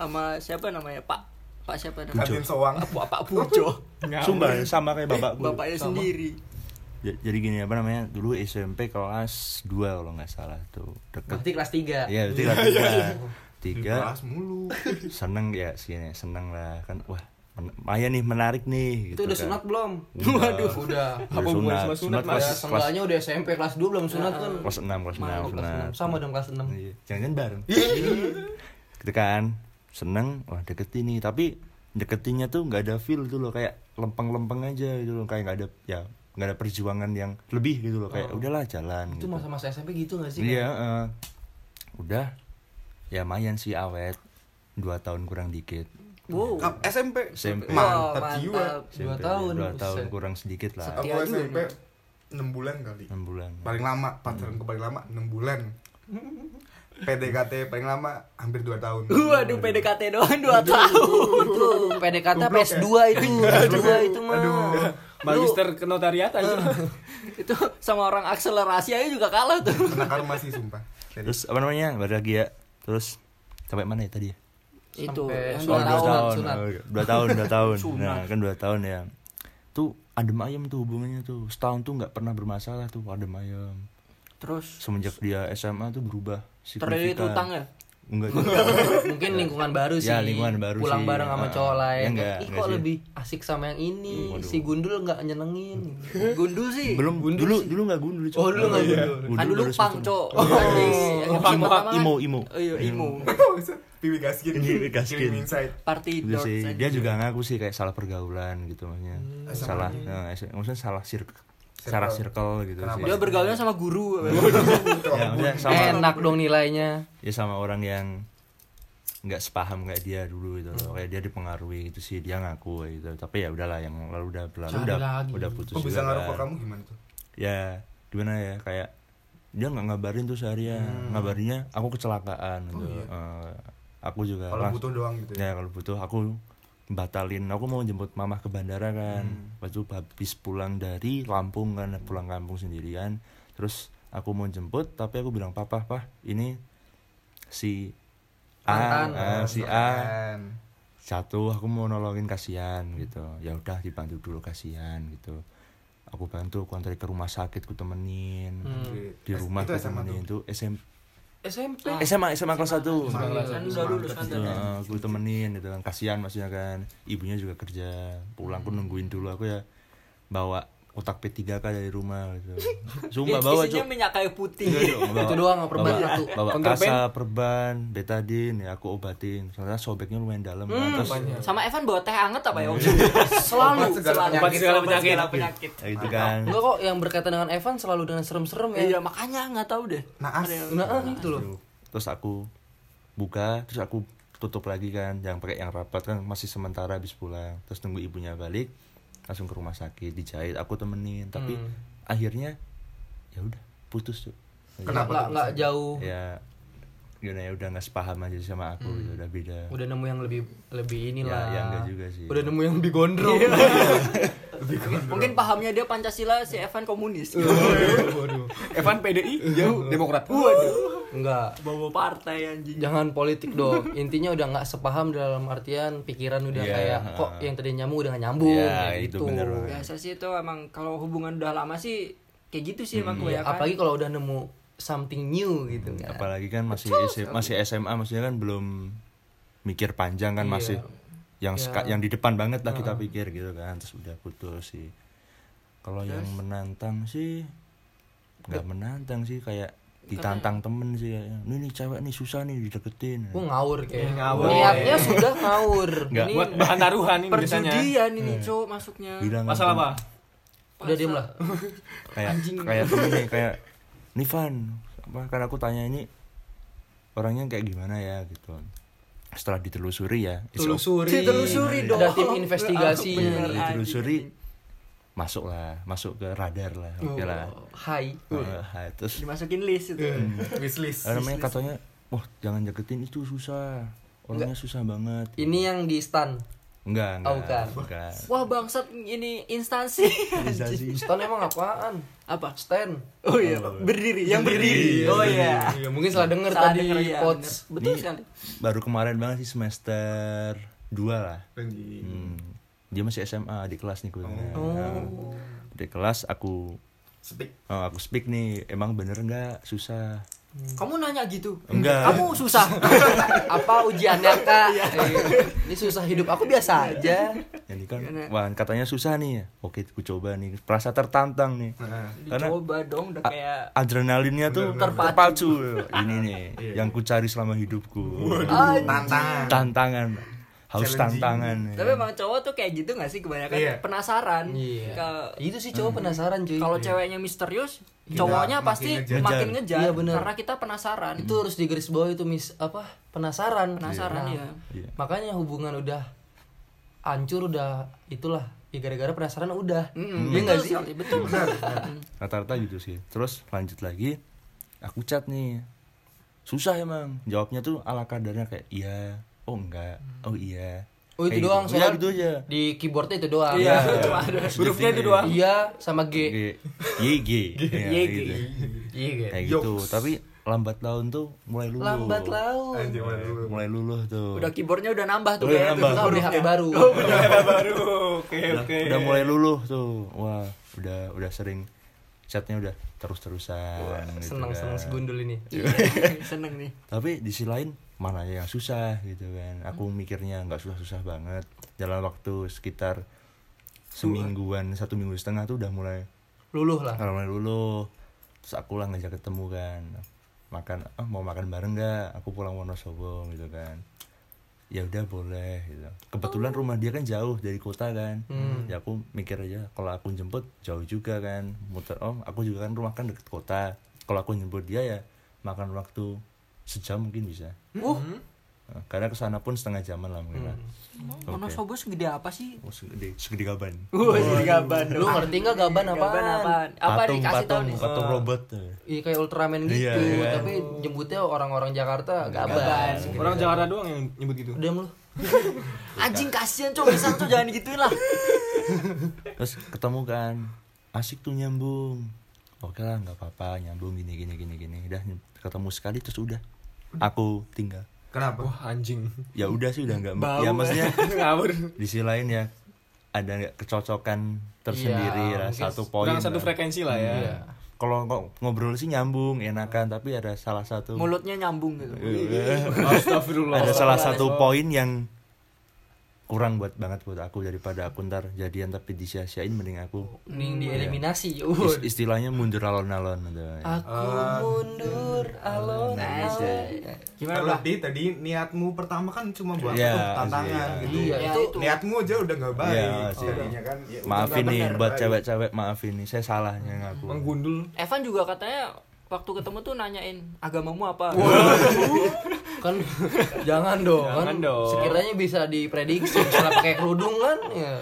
S2: sama siapa namanya pak pak siapa namanya
S4: kantin soang
S2: pak pak Pujo
S3: Sumpah sama kayak bapakku.
S2: bapaknya sendiri
S3: Ja- Jadi gini apa namanya? Dulu SMP kelas 2 kalau nggak salah tuh. Deket
S1: Berarti kelas 3.
S3: Iya, berarti kelas tiga. tiga
S4: Dibahas mulu.
S3: seneng ya sini seneng lah kan wah men- lumayan nih menarik nih
S1: itu
S3: gitu
S1: udah
S3: kan.
S1: sunat belum?
S3: Udah.
S1: Waduh, udah.
S3: Udah
S5: Apa hubungannya sama sunat,
S1: Mas,
S3: kelas,
S1: ya,
S3: kelas,
S1: seenggaknya udah SMP kelas 2 belum sunat kan.
S3: kelas 6 kelas
S1: Malu,
S3: 6
S1: kelas
S3: sunat
S1: enam. Iya. Sama dong kelas 6.
S3: Iya, jangan bareng gitu kan seneng wah deketin nih tapi deketinnya tuh nggak ada feel gitu loh kayak lempeng-lempeng aja gitu loh kayak nggak ada ya nggak ada perjuangan yang lebih gitu loh kayak udahlah jalan
S1: Oh. Itu
S3: gitu.
S1: masa-masa SMP gitu gak sih?
S3: iya eh, udah ya mayan sih awet dua tahun kurang dikit
S2: Wow.
S4: Kap- SMP.
S3: SMP.
S1: Iya,
S4: Mantap
S2: Wah,
S4: jiwa.
S2: mantap.
S1: Dua
S3: SMP,
S1: tahun,
S3: iya, dua
S1: buset.
S3: tahun kurang sedikit lah
S4: Aku
S2: Setia juga
S4: SMP
S2: nih.
S4: 6 bulan kali.
S3: enam bulan
S4: Paling lama pacaran ke paling lama 6 bulan. PDKT paling lama hampir 2 tahun.
S2: Waduh PDKT doang 2 tahun.
S1: Itu PDKT
S4: Goblok ya.
S1: PS2 itu, PS2 itu mah.
S5: Magister ke notariat aja.
S2: Ah. Itu sama orang akselerasi aja juga kalah tuh.
S4: Anak masih sumpah. Jadi,
S3: terus apa namanya baru lagi ya terus sampai mana ya tadi ya
S2: Itu
S1: Sampai
S2: yang
S1: Oh,
S3: Oh,
S2: dua
S1: sunat,
S2: tahun.
S3: dua tahun,
S1: sunat.
S3: Oh, dua tahun, dua tahun.
S2: Sunat.
S3: Nah, kan dua tahun ya. Tuh adem ayem tuh hubungannya tuh. Setahun tuh nggak pernah bermasalah tuh adem ayem.
S2: Terus
S3: Semenjak dia SMA tuh berubah
S2: terlilit utang ya.
S3: Enggak.
S1: Mungkin lingkungan baru sih.
S3: Ya, lingkungan baru
S1: Pulang
S3: sih.
S1: bareng sama
S3: Ah,
S1: cowok lain.
S3: ya enggak,
S1: Ih,
S3: enggak
S1: kok
S3: sih.
S1: lebih asik sama yang ini. Si Gundul nggak nyenengin.
S2: Gundul sih.
S3: Belum dulu dulu nggak gundul. Cok. Iya.
S1: Oh, dulu nggak gundul.
S2: Kan dulu
S3: baru
S2: pang,
S3: semester-
S2: Cok. Habis yang
S3: Pang,
S2: episode pertama kan.
S3: Imo, Imo.
S2: Oh iya, Imo.
S4: Piwi Gaskin.
S3: Piwi Gaskin.
S4: Kirim insight.
S2: Party
S3: Gitu
S2: dots
S3: sih.
S2: aja.
S3: Dia juga ngaku sih kayak salah pergaulan gitu maksudnya.
S4: Hmm.
S3: Salah, eh, maksudnya salah circle. Salah circle gitu
S4: Kenapa?
S3: sih.
S2: Dia bergaulnya sama guru.
S3: Ya, maksudnya sama
S1: Enak dong nilainya.
S3: ya sama orang yang nggak sepaham kayak dia dulu itu
S4: Hmm.
S3: loh. kayak dia dipengaruhi itu sih dia ngaku kayak gitu tapi ya udahlah yang lalu udah berlalu
S1: Cari
S3: udah
S1: lagi.
S3: udah putus
S4: Kok bisa
S3: juga
S4: ngaruh ke
S3: kan.
S4: kamu gimana tuh?
S3: ya gimana ya kayak dia nggak ngabarin tuh seharian
S4: Hmm.
S3: ngabarnya aku kecelakaan gitu Eh, aku juga
S4: Oh iya. Kalau
S3: langs-
S4: butuh doang gitu ya.
S3: ya kalau butuh aku batalin aku mau jemput mamah ke bandara kan waktu habis pulang dari Lampung kan pulang kampung sendirian terus aku mau jemput tapi aku bilang papa pah ini si
S4: Kan,
S3: A, ah, si A
S4: Keren.
S3: satu aku mau nolongin kasihan gitu ya udah dibantu dulu kasihan gitu aku bantu aku antar ke rumah sakit ku temenin
S4: Oke.
S3: di rumah
S4: Eh, itu
S3: ku
S4: SMA tuh.
S3: temenin itu eh, SM,
S1: SMP.
S3: SMA SMA
S1: Kan
S3: kelas 1
S1: udah lulus kan.
S3: Gitu, eh, gue temenin gitu kan kasihan maksudnya kan ibunya juga kerja pulang aku nungguin dulu aku ya bawa kotak P3K dari rumah gitu sumpah bawa
S2: Iya, Isinya
S3: cuk
S2: minyak kayu putih.
S3: Iya, Cuk, bawa-
S1: Itu doang, perban
S3: bawa-
S1: satu.
S3: bawa
S5: Counterpan?
S3: kasa perban betadin ya aku obatin soalnya sobeknya lumayan dalam kan.
S1: Hmm,
S3: terus
S2: Sama Evan bawa teh anget apa ya? Om?
S1: Selalu.
S4: Obat segala
S2: Selalu.
S5: penyakit.
S2: Segala
S5: Obat segala
S2: penyakit.
S3: ya gitu kan
S1: Enggak kok yang berkaitan dengan Evan selalu dengan serem-serem ya.
S2: Iya makanya nggak tahu deh.
S4: Naas.
S2: Ada yang-
S1: Nah, ah, gitu loh.
S3: Tuh. terus aku buka terus aku tutup lagi kan yang pakai yang rapat kan masih sementara habis pulang terus nunggu ibunya balik langsung ke rumah sakit dijahit aku temenin tapi akhirnya ya udah putus tuh
S1: Nggak
S4: Kenapa tuh?
S1: nggak jauh.
S3: ya gimana ya udah nggak sepaham aja sama aku gitu, udah beda
S1: Udah nemu yang lebih lebih
S3: ya,
S1: inilah.
S3: ya enggak juga sih Iya.
S1: Udah nemu yang lebih gondrong.
S2: Mungkin pahamnya dia Pancasila, si Evan komunis.
S5: Evan PDI, Demokrat.
S1: Enggak.
S2: Bawa partai anjing.
S1: Jangan politik dong. Intinya udah nggak sepaham dalam artian pikiran udah
S3: Iya,
S1: kayak
S3: ah.
S1: kok yang tadi nyambung udah nggak nyambung
S3: Iya,
S1: kayak gitu.
S3: itu bener banget.
S2: Biasa sih itu emang kalau hubungan udah lama sih kayak gitu sih emang
S1: Iya,
S2: kebanyakan.
S1: apalagi kalau udah nemu something new gitu kan.
S3: apalagi kan masih SM masih SMA maksudnya kan belum mikir panjang kan masih yang seka- yang di depan banget lah kita pikir gitu kan terus udah putus sih kalau yang menantang sih nggak menantang sih kayak ditantang temen sih kayaknya. ini nih cewek nih susah nih dideketin
S1: Gua ngawur
S2: Iya,
S1: kayak.
S5: ngawur.
S1: Niatnya sudah ngawur.
S3: Nggak.
S1: Ini
S5: Buat bahan taruhan ini biasanya.
S2: Perjudian ini cowok masuknya.
S3: bilang kan
S5: Masalah apa?
S1: udah diem lah.
S3: kayak kayak temen nih kayak Nivan apa kan aku tanya ini orangnya kayak gimana ya gitu setelah ditelusuri ya it's okay.
S2: Ditelusuri dong.
S1: Ada tim investigasinya.
S2: Bener.
S1: nih.
S3: Iya, ditelusuri masuk lah masuk ke radar lah oke lah
S1: Hai.
S3: Eh, hai. terus
S2: Dimasukin list itu.
S5: Hmm.
S4: Wishlist.
S3: apa namanya katanya wah jangan deketin itu susah orangnya susah banget
S1: Ini yang di stan.
S3: enggak enggak
S1: Oh, bukan.
S3: enggak
S2: Wah bangsat ini instansi.
S1: Stan emang apaan?
S2: apa?
S1: Stan.
S2: Oh iya, berdiri, yang berdiri. Oh iya.
S1: Ya mungkin salah denger
S2: Salah
S1: tadi
S2: denger, iya,
S1: quotes.
S2: bener. Betul
S3: Ini
S2: sekali.
S3: baru kemarin banget sih semester 2 lah
S4: Tinggi.
S3: Hmm. dia masih SMA di kelas nih gue Nah, di kelas aku ah,
S4: Speak.
S3: oh, aku speak nih emang bener nggak susah
S2: Kamu nanya gitu.
S3: Enggak.
S2: Kamu susah.
S1: Apa ujiannya kak? Eh, Ini susah hidup aku biasa aja.
S3: Jadi kan, wah katanya susah nih ya. Oke, ku coba nih. Merasa tertantang nih.
S4: Nah,
S3: Karena
S2: Coba dong udah kayak
S3: a- adrenalinnya tuh
S2: Terpacu.
S3: terpacu. Ini nih yang ku cari selama hidupku.
S4: Tantangan.
S3: Tantangan. Haus tantangan. ya.
S2: Tapi emang cowok tuh kayak gitu gak sih kebanyakan
S4: Iya.
S2: penasaran.
S1: Iya.
S2: Ke-
S1: Itu sih
S2: Hmm.
S1: cowok penasaran cuy.
S2: Kalau ceweknya misterius, cowoknya
S4: makin
S2: pasti
S4: ngejar.
S2: makin ngejar
S1: Iya, bener.
S2: karena kita penasaran.
S1: itu harus digaris bawah itu mis apa penasaran
S2: Penasaran,
S1: Nah,
S2: iya.
S3: Iya.
S1: makanya hubungan udah hancur udah itulah ya gara-gara penasaran udah
S2: Mm-mm.
S1: Iya nggak
S2: Betul
S1: sih
S2: sekali, Betul.
S3: rata-rata gitu sih terus lanjut lagi aku chat nih susah emang jawabnya tuh ala kadarnya kayak iya oh enggak oh iya
S1: oh itu
S3: Kayak
S1: doang
S3: gitu. Iya,
S1: soalnya
S3: gitu aja
S1: di keyboardnya itu doang
S2: Iya, cuma ada hurufnya itu doang.
S1: iya sama G
S3: G- YG Iya,
S2: YG.
S3: gitu.
S1: iya
S3: kayak gitu tapi lambat laun tuh mulai luluh
S1: lambat laun
S4: Anjing, mana dulu.
S3: mulai luluh tuh
S2: Udah keyboardnya udah nambah tuh
S3: Udah
S2: kayak
S3: nambah.
S1: kita udah HP baru
S5: baru oke
S3: udah,
S5: oke
S3: udah mulai luluh tuh wah udah udah sering chatnya udah terus-terusan gitu
S1: seneng seneng si
S3: kan.
S1: gundul ini
S2: Iya. Seneng nih.
S3: tapi di sisi lain mana yang susah gitu kan aku mikirnya nggak susah-susah banget dalam waktu sekitar semingguan satu minggu setengah tuh udah mulai
S1: luluh lah
S3: kalau mulai dulu terus aku lah ngajak ketemu kan makan ah, mau makan bareng nggak aku pulang Wonosobo gitu kan ya udah boleh gitu kebetulan rumah dia kan jauh dari kota kan
S2: Hmm.
S3: ya aku mikir aja kalau aku jemput jauh juga kan muter oh aku juga kan rumah kan deket kota kalau aku jemput dia ya makan waktu sejam mungkin bisa
S1: uh
S3: Nah, karena kesana pun setengah jaman lah mungkin lah
S2: Hmm.
S3: Oke.
S2: Wonosobo segede apa sih?
S3: Oh, segede segede gaban
S2: Wah, segede gaban.
S1: Oh, iya. lu ngerti nggak gaban apa
S2: Gaban apaan? Apa
S3: patung
S2: dikasih tahu
S3: patung
S2: nih? Oh.
S3: patung robot
S1: Iya kayak Ultraman gitu,
S3: Iya, iya.
S1: tapi jemputnya orang-orang Jakarta gaban.
S5: orang Jakarta doang yang nyebut gitu
S1: Udah lu.
S2: Anjing kasihan cowok misal tuh jangan gituin lah.
S3: terus ketemu kan asik tuh nyambung oke lah nggak apa-apa nyambung gini gini gini gini udah ny- ketemu sekali terus udah aku tinggal
S4: Kenapa?
S5: wah anjing
S3: ya udah sih udah nggak ya maksudnya
S5: ngawur
S3: di sisi lain ya ada nggak kecocokan tersendiri
S1: Iya,
S3: lah
S1: mungkin
S3: satu poin
S5: kurang satu
S3: lah.
S5: frekuensi lah ya
S3: Iya. kalau ngo- ngobrol sih nyambung enakan tapi ada salah satu Iya.
S2: Mulutnya nyambung gitu.
S5: Iya, Astagfirullah.
S3: ada salah satu poin yang kurang buat banget buat aku daripada aku ntar jadian tapi disia-siain mending aku
S1: Mending dieliminasi.
S3: is-
S1: Yud.
S3: istilahnya mundur alon-alon Nah, gitu.
S1: Aku mundur alon.
S3: ya.
S4: Gimana Terlebih tadi niatmu pertama kan cuma buat
S3: Iya,
S4: "Oh, tantangan
S3: iya.
S4: gitu.
S1: Iya,
S2: Ya,
S1: itu
S2: itu.
S4: Niatmu aja udah nggak baik.
S3: Iya, sih.
S4: jadinya kan. ya udah
S3: maaf
S4: nggak
S3: ini
S4: bener,
S3: buat
S4: baik.
S3: cewek-cewek maaf ini saya salahnya ngaku
S5: menggundul
S2: Evan juga katanya waktu ketemu tuh nanyain agamamu apa.
S1: kan jangan dong. kan
S5: Jangan dong.
S1: Sekiranya bisa diprediksi misalnya pakai kerudung kan ya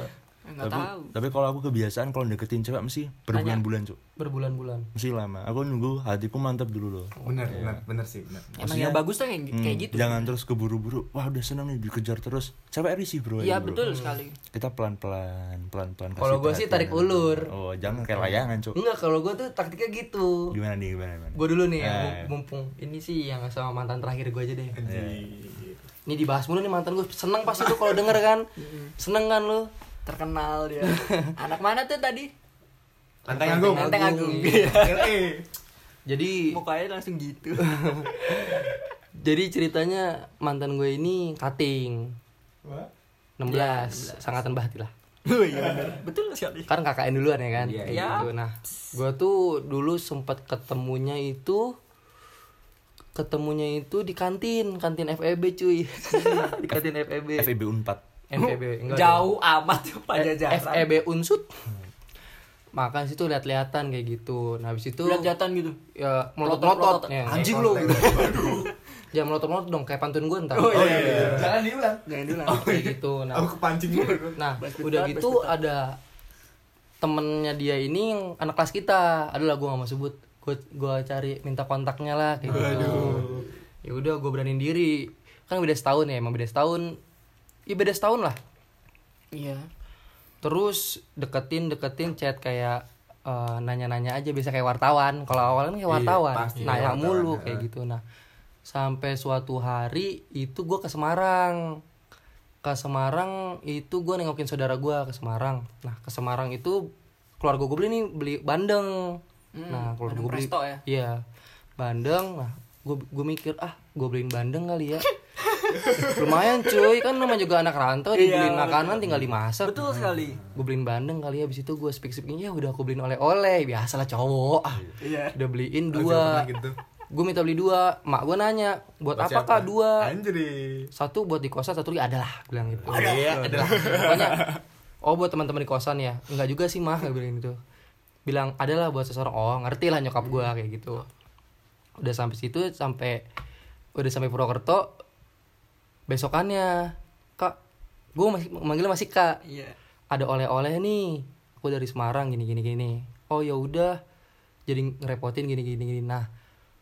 S2: Enggak
S3: tapi,
S2: tahu.
S3: tapi kalau aku kebiasaan kalau deketin cewek mesti berbulan-bulan cuk
S1: berbulan-bulan.
S3: mesti lama aku nunggu hatiku mantap dulu loh
S4: Bener, bener, bener sih. Bener.
S3: Iya.
S2: Emang yang bagus tuh kayak,
S3: Hmm,
S2: kayak gitu.
S3: jangan terus keburu-buru wah udah seneng nih dikejar terus cewek risih bro
S2: Iya
S3: ini, bro.
S2: betul sekali.
S3: kita pelan-pelan pelan-pelan kasih
S1: Kalau gua sih tarik
S3: perhatian.
S1: ulur.
S3: oh jangan kayak layangan cuk
S1: Enggak, kalau gue tuh taktiknya gitu.
S3: gimana nih gimana gimana
S1: Gue dulu nih,
S3: Eh.
S1: ya, mumpung ini sih yang sama mantan terakhir gue aja deh.
S4: Iya.
S1: Ini dibahas mulu nih mantan gue, seneng pasti tuh kalau denger kan, seneng kan lu?
S2: Terkenal dia. Anak mana tuh tadi?
S4: Lanteng Agung. E.
S2: Lanteng Agung.
S1: Iya.
S4: LA.
S1: Jadi
S2: Mukanya langsung gitu.
S1: Jadi ceritanya mantan gue ini cutting. 16,
S2: Iya,
S1: sangatan bahati lah.
S2: Oh iya bener. Betul sekali.
S1: Kan KKN duluan ya kan?
S2: Iya,
S1: Kayak
S2: iya.
S1: gitu. Nah, gue tuh dulu sempat ketemunya itu ketemunya itu di kantin, kantin FEB cuy.
S2: Hmm.
S1: di kantin E FEB.
S3: FEB Unpad
S1: FEB E enggak.
S2: E Oh,
S1: Eh,
S2: Jauh amat tuh
S1: dong.
S2: pajajaran.
S1: FEB Unsut. Makan situ lihat-lihatan kayak gitu. Nah, habis itu
S2: Lihat-lihatan gitu.
S1: ya melotot-melotot.
S2: Melotot-melotot.
S1: Ya,
S2: Anjing lu.
S1: Jangan melotot-melotot dong kayak pantun gue ntar.
S2: Oh iya. Oh, Jangan diulang. Jangan diulang.
S1: Kayak gitu. Nah,
S4: Aku kepancing mulu.
S1: Nah, udah gitu ada temennya dia ini yang anak kelas kita. Aduh lah gue gak mau sebut. Gue gua cari minta kontaknya lah kayak gitu. Ya udah gue beraniin diri. Kan beda setahun ya, emang beda setahun. Iya beda setahun lah.
S2: Iya.
S1: Terus deketin deketin chat kayak eh, nanya-nanya aja bisa kayak wartawan. Kalau awalnya kan kayak
S4: Iya,
S1: wartawan.
S4: pasti
S1: nah,
S4: kayak
S1: yang
S4: wartawan, iya.
S1: mulu
S4: heeh.
S1: kayak gitu. Nah, sampai suatu hari itu gue ke Semarang. Ke Semarang itu gue nengokin saudara gue ke Semarang. Nah, ke Semarang itu keluarga gue beli nih beli bandeng. nah, keluarga
S2: Hmm, bandeng
S1: gue beli.
S2: presto ya?
S1: Iya. bandeng nah gue mikir ah gue beliin bandeng kali ya lumayan cuy kan namanya juga anak rantau dibeliin makanan tinggal dimasak
S2: Betul sekali.
S1: gue beliin bandeng kali ya, abis itu gue speak speaking ya udah aku beliin oleh-oleh biasalah cowok ah udah beliin dua
S4: gitu.
S1: gue minta beli dua mak gue nanya buat
S4: Buat
S1: apa
S4: siapa?
S1: kak dua
S4: Anjir.
S1: satu buat di kosan satu lagi adalah bilang gitu
S4: Iya, adalah.
S1: pokoknya oh buat teman-teman di kosan ya enggak juga sih mah gue bilang gitu bilang adalah buat seseorang oh ngerti lah nyokap gue kayak gitu udah sampai situ sampai udah sampai Purwokerto besokannya kak gue masih manggilnya masih kak
S2: Iya.
S1: ada oleh-oleh nih aku dari Semarang gini gini gini oh ya udah jadi ngerepotin gini gini gini nah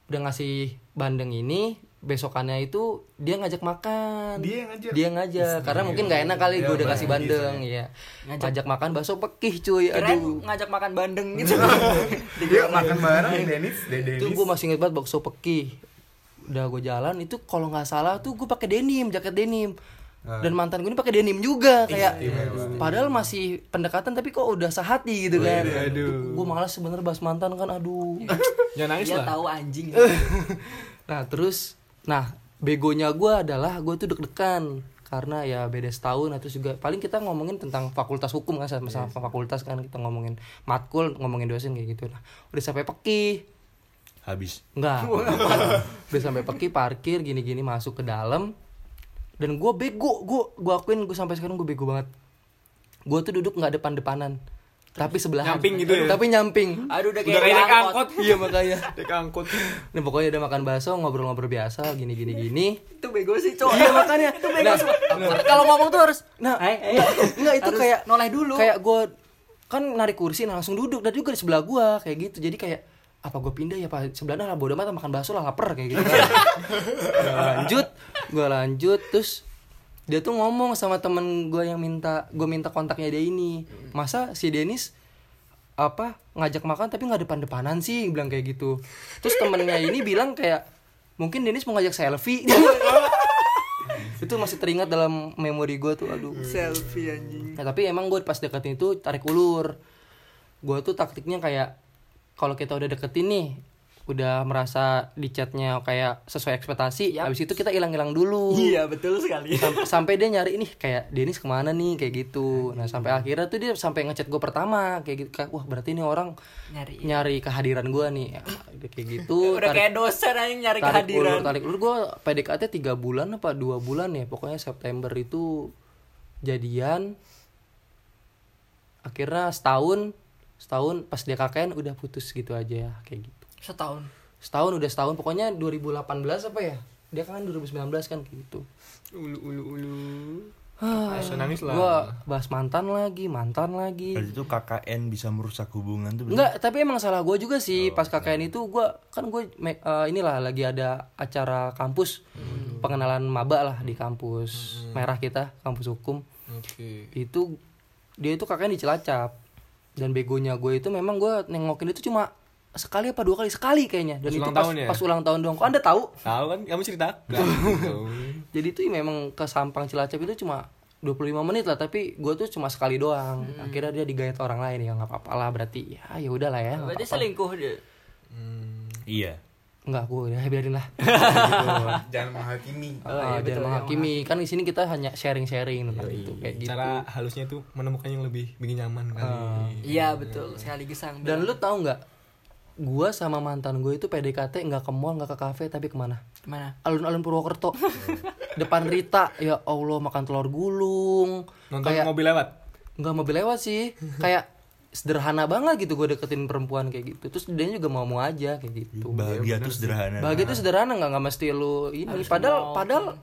S1: udah ngasih bandeng ini besokannya itu dia ngajak makan
S4: Dia yang ngajak?
S1: dia ngajak karena mungkin nggak enak kali
S4: Iya,
S1: gue udah
S4: Bang.
S1: kasih bandeng ya
S2: Ngajak.
S1: ngajak makan bakso pekih cuy
S2: Kirain
S1: aduh
S2: ngajak makan bandeng gitu.
S4: Dia makan bareng Denis, De-
S1: itu
S4: Iya, Denis.
S1: gue masih inget banget bakso pekih udah gue jalan itu kalau nggak salah tuh gue pakai denim jaket denim
S4: Ah.
S1: dan mantan gue ini pakai denim juga
S4: Iya,
S1: kayak padahal masih pendekatan tapi kok udah sehati
S4: Oh,
S1: gitu kan
S4: iya,
S1: gue malas sebenernya bahas mantan kan aduh
S5: Jangan
S2: Dia
S5: nangis lah.
S2: Iya, tahu anjing.
S1: nah terus nah begonya gue adalah gue tuh deg-degan karena ya beda setahun atau juga paling kita ngomongin tentang fakultas hukum kan sama sama fakultas kan kita ngomongin matkul ngomongin dosen kayak gitu nah udah sampai pekih
S3: habis
S1: Enggak. udah sampai peki parkir gini-gini masuk ke dalam. Dan gue bego, gue gue akuin gue sampai sekarang gue bego banget. Gue tuh duduk nggak depan-depanan, tapi sebelahan.
S5: Nyamping gitu ya?
S1: Tapi nyamping.
S2: Aduh udah
S5: Udah
S2: kayak
S5: kayak naik
S2: angkot.
S5: angkot.
S1: iya makanya.
S5: Naik angkot.
S1: Nah pokoknya udah makan bakso, ngobrol-ngobrol biasa, gini-gini gini.
S2: Itu bego ssih, cowok.
S1: Iya makanya. Nah,
S2: Kalau ngomong tuh harus
S1: nah
S2: Hai, hai.
S1: enggak, enggak, itu
S2: Harus
S1: kayak
S2: noleh dulu.
S1: Kayak gue kan narik kursi nah langsung duduk dan juga di sebelah gue kayak gitu. Jadi kayak apa gue pindah ya pak sebelahnya lah bodo amat makan bakso lah lapar kayak gitu Gua lanjut gue lanjut terus dia tuh ngomong sama temen gue yang minta gue minta kontaknya dia ini masa si Denis apa ngajak makan tapi nggak depan depanan sih bilang kayak gitu terus temennya ini bilang kayak mungkin Denis mau ngajak selfie itu masih teringat dalam memori gue tuh aduh
S2: Hmm. selfie anjing.
S1: Nah, tapi emang gue pas deketin itu tarik ulur. Gue tuh taktiknya kayak kalau kita udah deketin nih, udah merasa di chatnya kayak sesuai ekspektasi,
S2: Yap.
S1: habis itu kita hilang-hilang dulu.
S2: Iya, betul sekali.
S1: Sam- sampai dia nyari ini kayak Denis kemana nih kayak gitu. Nah sampai akhirnya tuh dia sampai ngechat gue pertama kayak gitu. Kayak, Wah berarti ini orang
S2: Nyari.
S1: nyari kehadiran gue nih Ya, kayak gitu.
S2: Udah
S1: tarik-
S2: kayak dosen anjing nyari
S1: tarik
S2: kehadiran.
S1: ulur tarik ulur gue PDKT tiga bulan apa dua bulan ya pokoknya September itu jadian akhirnya setahun setahun pas dia KKN udah putus gitu aja kayak gitu
S2: Setahun.
S1: setahun udah setahun pokoknya 2018 apa ya dia kan 2019 kan kayak gitu
S5: Ulu ulu ulu.
S2: Ah.
S1: Hah,
S5: Jangan nangis lah.
S1: gue bahas mantan lagi mantan lagi
S3: berarti itu KKN bisa merusak hubungan tuh bener?
S1: Enggak, tapi emang salah gue juga
S5: Oh,
S1: sih pas KKN itu gue kan gue me- eh, inilah lagi ada acara kampus
S5: Hmm.
S1: pengenalan maba lah di kampus merah kita kampus hukum
S5: Oke.
S1: itu dia itu KKN di Cilacap dan begonya gue itu memang gue nengokin itu cuma sekali apa dua kali sekali kayaknya dan
S5: Pas
S1: itu
S5: ulang
S1: pas,
S5: tahun ya?
S1: pas ulang tahun dong kok anda tahu
S5: Tahu kan kamu cerita?
S1: jadi itu memang ke Sampang Cilacap itu cuma 25 menit lah tapi gue tuh cuma sekali doang
S5: Hmm.
S1: akhirnya dia digayat orang lain ya nggak apa-apa lah berarti ya ya udahlah ya nggak
S2: Berarti
S1: apa-apa.
S2: selingkuh dia.
S3: iya
S1: Enggak, gue udah biarin lah.
S4: Jangan menghakimi.
S1: Ah, jangan menghakimi. Kan di sini kita hanya sharing-sharing tentang itu kayak gitu.
S5: Cara halusnya itu menemukan yang lebih bikin nyaman kali.
S1: Eh,
S2: Iya, betul. Sekali gesang.
S1: Dan lu tahu nggak? Gua sama mantan gue itu PDKT nggak ke mall, nggak ke kafe, tapi kemana?
S2: mana?
S1: Alun-alun Purwokerto. Depan Rita, ya Allah makan telur gulung.
S5: Nonton
S1: kayak
S5: mobil lewat.
S1: nggak mau lewat sih. kayak sederhana banget gitu gue deketin perempuan kayak gitu. Terus dia juga mau-mau aja kayak gitu.
S3: bahagia tuh sederhana
S1: Bahagia itu sederhana nggak nggak mesti lu ini. padahal padahal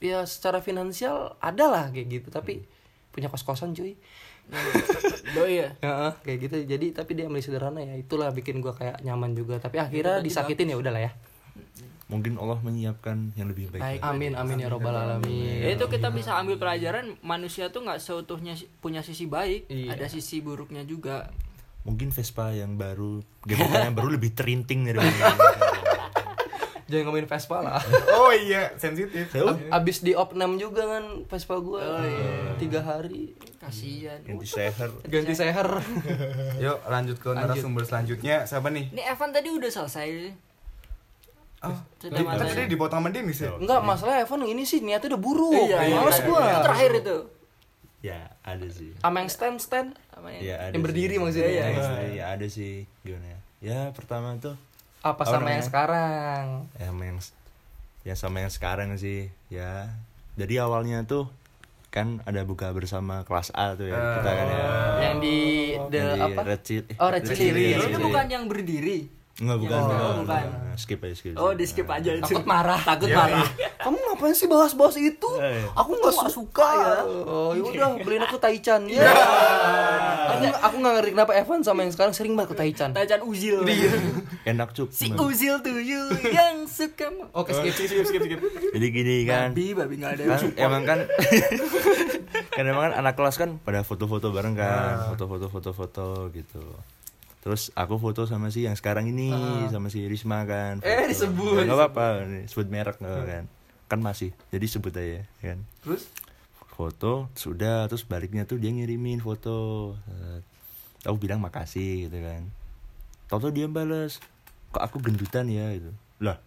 S1: ya secara finansial ada lah kayak gitu tapi punya kos kosan cuy.
S2: Doi ya.
S1: Heeh, kayak gitu jadi tapi dia milih sederhana ya itulah bikin gua kayak nyaman juga tapi akhirnya disakitin ya udahlah ya.
S3: mungkin Allah menyiapkan yang lebih baik,
S2: Baik.
S1: Amin amin Iya. ya robbal alamin.
S2: itu kita bisa ambil pelajaran manusia tuh nggak seutuhnya si- punya sisi baik,
S1: Iya.
S2: ada sisi buruknya juga.
S3: mungkin Vespa yang baru gebetan yang baru lebih terinting dari ini.
S1: Jangan ngomongin Vespa lah.
S4: Oh iya, sensitif.
S1: Abis di opnam juga kan Vespa gua tiga hari
S2: Kasihan.
S3: ganti seher
S1: iya. ganti seher.
S4: Yuk, lanjut ke narasumber selanjutnya. Siapa nih?
S2: Ini Evan tadi udah selesai.
S1: Oh.
S4: Ah,
S1: Iya.
S2: Cedak
S4: di- kan
S2: matanya.
S4: tadi dipotong sama Dennis ya?
S1: Enggak, masalah Evan ini sih niatnya udah buruk.
S2: Iya, iya,
S1: Males
S2: iya.
S1: gua.
S2: Itu terakhir itu.
S3: ya ada sih
S1: Sama yang stand stand.
S2: Apa ya?
S3: ya
S1: Oh,
S3: ada
S1: Yang berdiri
S3: sih.
S1: maksudnya,
S3: ya,
S1: iya.
S3: ya, ada sih gimana ya ya pertama tuh
S1: Apa sama
S3: Orangnya.
S1: yang sekarang?
S3: ya sama yang ya sama yang sekarang sih ya jadi awalnya tuh kan ada buka bersama kelas A tuh ya kita kan ya
S1: Ah. Oh, Yang di the
S3: Yang di
S1: apa?
S3: Red Chili-
S1: Oh, Red Chili.
S3: Chili.
S2: Itu bukan yang berdiri.
S3: Enggak, bukan,
S2: Oh,
S3: bukan,
S2: bukan.
S3: Nah, Skip aja, skip.
S2: Oh, di skip aja itu.
S1: Takut marah.
S2: Takut marah.
S1: Kamu ngapain sih bahas-bahas itu?
S3: Eh.
S1: Aku nggak suka ya. Oh, yaudah beliin aku Taichan. Ya. Aku, aku nggak ngerti kenapa Evan sama yang sekarang sering banget ke Taichan.
S2: Tajan Uzil.
S3: Enak, Cuk.
S2: Si Uzil tuyul yang suka ma-
S5: Oh,
S1: Oke, skip.
S5: skip skip skip
S3: Jadi gini kan.
S2: babi babi nggak ada.
S3: kan emang kan kan emang kan anak kelas kan pada foto-foto bareng
S2: Ah.
S3: kan foto-foto foto-foto gitu terus aku foto sama si yang sekarang ini
S2: Ah.
S3: sama si Risma kan
S1: Eh,
S3: foto.
S1: disebut.
S3: Ya, nggak apa-apa nih, sebut merek nggak apa-apa kan kan masih jadi sebut aja kan
S1: Terus?
S3: foto sudah terus baliknya tuh dia ngirimin foto Eh, aku bilang makasih gitu kan tau dia balas kok aku gendutan ya gitu lah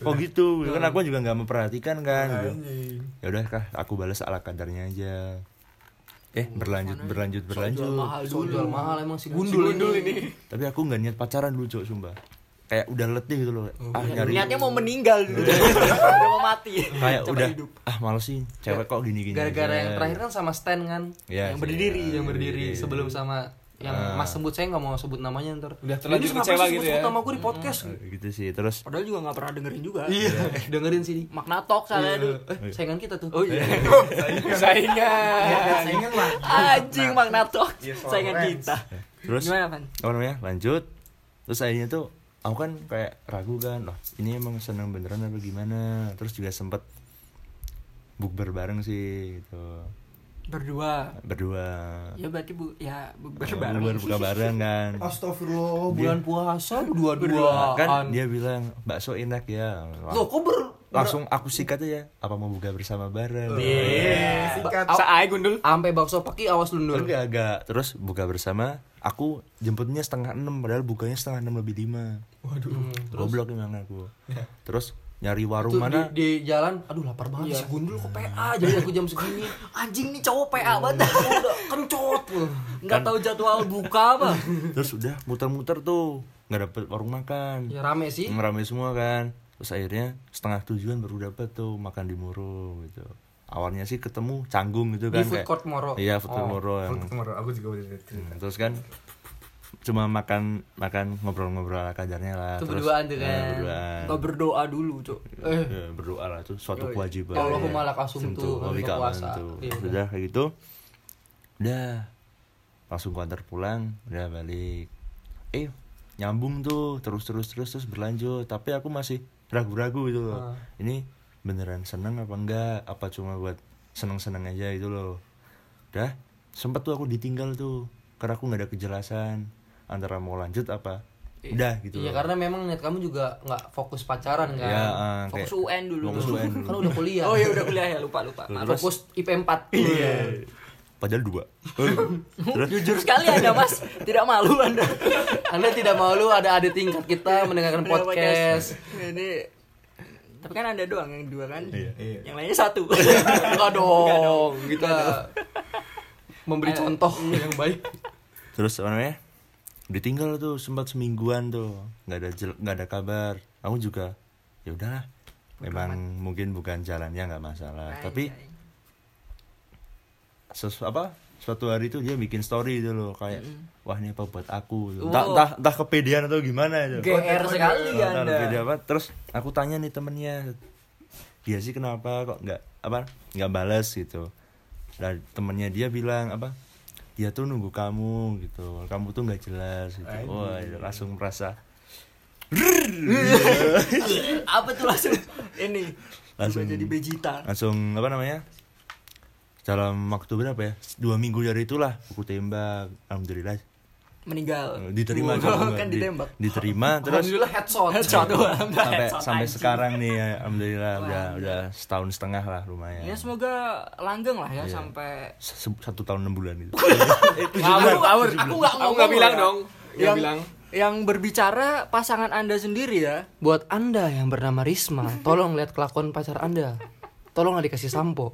S3: kok gitu kan aku juga nggak memperhatikan kan gitu
S4: Anjing.
S3: ya udah kah aku balas ala kadarnya aja eh berlanjut berlanjut berlanjut
S1: Mahal dulu. Jual mahal emang si gundul, ini.
S3: tapi aku nggak niat pacaran dulu cok sumpah kayak udah letih gitu loh ah nyari
S2: iya. Oh, Niatnya mau meninggal dulu. Udah mau mati.
S3: kayak
S2: Coba
S3: udah
S2: hidup.
S3: ah males sih cewek kok gini gini
S1: Gara-gara yang terakhir kan sama Stan kan.
S3: Iya,
S1: yang
S3: sih,
S1: berdiri,
S3: iya,
S1: yang berdiri
S3: berdiri.
S1: sebelum sama yang
S3: Ah.
S1: Mas sebut saya nggak mau sebut namanya ntar.
S5: Udah
S1: Ini
S5: terlanjur
S1: kenapa
S5: kecewa
S1: sih
S5: gitu
S1: sebut
S5: ya.
S1: Nama gue di podcast.
S3: gitu sih terus
S2: Padahal juga nggak pernah dengerin juga.
S1: Dengerin sini.
S2: Makna talk saya dulu.
S1: Eh, saingan kita tuh.
S2: Oh iya.
S4: Ya, Iya,
S2: Saingan.
S4: saingan lah.
S2: Anjing makna talk.
S4: Iya,
S2: Saingan
S4: soalnya.
S2: kita.
S3: terus
S2: Gimana, Van?
S3: apa namanya lanjut terus akhirnya tuh aku kan kayak ragu kan loh ini emang seneng beneran apa gimana terus juga sempet bukber bareng sih gitu
S2: Berdua.
S3: berdua
S2: Ya berarti bu ya bu-
S3: Bukber
S2: berbareng.
S3: buka bareng kan
S4: Astagfirullah.
S1: bulan puasa
S3: Nah,
S1: dua-duaan.
S3: kan dia bilang bakso enak ya
S1: Loh, kok ber
S3: langsung aku sikat aja apa mau buka bersama bareng
S4: Iya. Sikat.
S5: saai gundul
S1: sampai bakso paki awas lu Nur.
S3: enggak agak terus buka bersama aku jemputnya setengah enam padahal bukanya setengah enam lebih lima
S5: waduh
S3: goblok emang aku terus nyari warung
S1: Tuh,
S3: mana
S1: Ya. di, di jalan aduh lapar
S3: Iya.
S1: banget si gundul kok PA jadi aku jam segini
S2: Anjing nih cowok
S3: Iya.
S2: PA banget.
S1: udah kencot loh.
S2: Enggak tahu jadwal buka apa.
S3: terus udah muter-muter tuh nggak dapet warung makan
S1: ya rame sih
S3: rame semua kan terus akhirnya setengah tujuan baru dapet tuh makan di Muro gitu awalnya sih ketemu canggung gitu
S1: di
S3: kan
S1: food
S3: kayak-
S1: court Oh, Moro
S3: iya food court Muro yang
S4: Oh, Aku juga udah cerita.
S3: Hmm, terus kan cuma makan makan ngobrol-ngobrol ala kadarnya lah
S1: Itu
S3: terus
S1: berduaan tuh
S3: eh,
S1: kan.
S3: berduaan
S2: Enggak berdoa dulu, Cok.
S1: Eh.
S3: Ya, berdoa lah tuh suatu kewajiban
S1: Kalau aku
S3: ya.
S1: malah kasum tuh
S3: Tapi
S1: untuk
S3: kapan
S1: puasa.
S3: tuh.
S1: Iya.
S3: udah kayak gitu udah langsung ku antar pulang udah balik eh nyambung tuh terus terus terus terus berlanjut tapi aku masih ragu-ragu
S1: Ah.
S3: gitu loh ini beneran seneng apa enggak apa cuma buat seneng-seneng aja gitu loh udah sempet tuh aku ditinggal tuh karena aku nggak ada kejelasan antara mau lanjut apa udah gitu
S1: Iya
S3: loh.
S1: karena memang niat kamu juga nggak fokus pacaran kan.
S3: ya eh,
S2: Fokus
S3: kayak-
S2: UN dulu.
S3: fokus UN dulu.
S1: Kan udah kuliah.
S2: Oh ya udah kuliah ya, lupa lupa. Maaf.
S3: Terus-
S1: Fokus IP 4. Iya.
S3: padahal dua
S2: Jujur sekali Anda, Mas. Tidak malu Anda.
S1: Anda tidak malu ada adik tingkat kita mendengarkan
S2: Mendengar
S1: podcast.
S2: Ini tapi kan Anda doang yang dua kan.
S4: Iya.
S2: Yang lainnya satu.
S1: Enggak dong,
S3: Gitu
S1: kita memberi contoh
S3: Iya.
S1: yang baik.
S3: terus apa namanya ditinggal tuh sempat semingguan tuh nggak ada jel- nggak ada kabar aku juga ya udahlah memang mungkin bukan jalannya nggak masalah tapi sesu apa suatu hari itu dia bikin story itu loh kayak wah ini apa buat aku entah entah, entah kepedean atau gimana itu
S2: GR sekali
S3: Entah
S2: Iya, Anda.
S3: kepedean apa terus aku tanya nih temennya dia sih kenapa kok nggak apa nggak balas gitu dan temennya dia bilang apa dia tuh nunggu kamu gitu kamu tuh nggak jelas gitu wah langsung merasa
S2: Apa tuh langsung ini
S3: Langsung-
S2: Berubah jadi Vegeta.
S3: langsung apa namanya dalam waktu berapa ya dua minggu dari itulah aku tembak alhamdulillah eh,
S2: Meninggal.
S3: diterima
S2: Wow,
S3: juga.
S2: kan
S3: Di-
S2: ditembak.
S3: diterima terus
S1: Alhamdulillah headshot.
S2: Headshot doang.
S3: sampai
S2: Headshot
S3: sampai
S2: anjing.
S3: sekarang nih ya, alhamdulillah udah udah setahun setengah lah lumayan
S2: Ya semoga langgeng lah ya sampai
S3: Se- satu tahun enam bulan itu
S2: Ngawur, ngawur. Aku nggak
S5: Aku
S2: ngomong
S5: nggak bilang
S2: loh ya.
S5: dong.
S2: Yang
S5: Nggak
S1: Iya.
S5: bilang.
S2: yang berbicara pasangan Anda sendiri ya.
S1: Buat Anda yang bernama Risma, tolong lihat kelakuan pacar Anda. Tolong nggak dikasih sampo.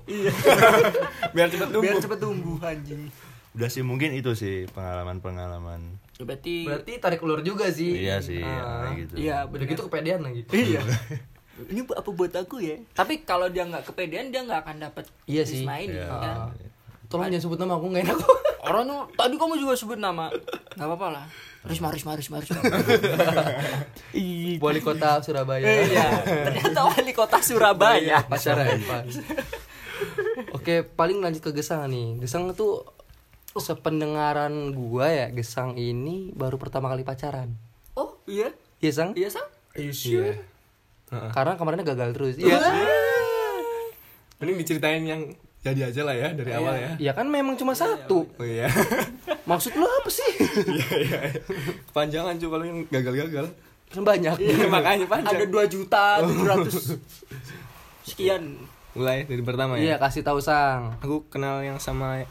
S5: biar cepet
S2: Iya. Biar
S5: tumbuh
S2: cepet tumbuh anjing.
S3: udah sih mungkin itu sih pengalaman-pengalaman
S2: Berarti
S1: Berarti tarik ulur juga sih. Ah.
S3: iya sih ya, kayak gitu
S2: iya
S1: Udah
S2: begitu.
S1: gitu kepedean lagi.
S2: Iya. Ini bu- apa buat aku ya? Tapi kalau dia nggak kepedean dia nggak akan dapet
S1: Iya sih.
S2: Risma ini, kan?
S1: Tolong jangan sebut nama aku nggak enak.
S2: Orang tuh tadi kamu juga sebut nama. Gak apa-apa lah. Risma, Risma, Risma, Risma.
S1: Wali kota Surabaya.
S2: iya. Ternyata wali kota Surabaya.
S1: Pacar
S3: Iya.
S1: Evan. Oke, paling lanjut ke Gesang nih. Gesang tuh sependengaran gua ya, Gesang ini baru pertama kali pacaran.
S2: Oh iya,
S1: Iya, Sang?
S2: iya sang.
S5: iya
S1: Karena kemarinnya gagal terus. Iya.
S5: mending diceritain yang jadi aja lah ya dari awal ya
S1: Ya kan memang cuma satu.
S5: oh iya
S1: Maksud lu apa sih?
S5: panjangan coba lu yang gagal-gagal
S1: Kan Banyak.
S5: makanya
S2: Ada
S5: panjang
S2: dua
S1: Oh.
S2: juta tujuh ratus sekian.
S5: mulai dari pertama
S1: Iya,
S5: ya
S1: kasih tahu Sang.
S5: aku kenal yang sama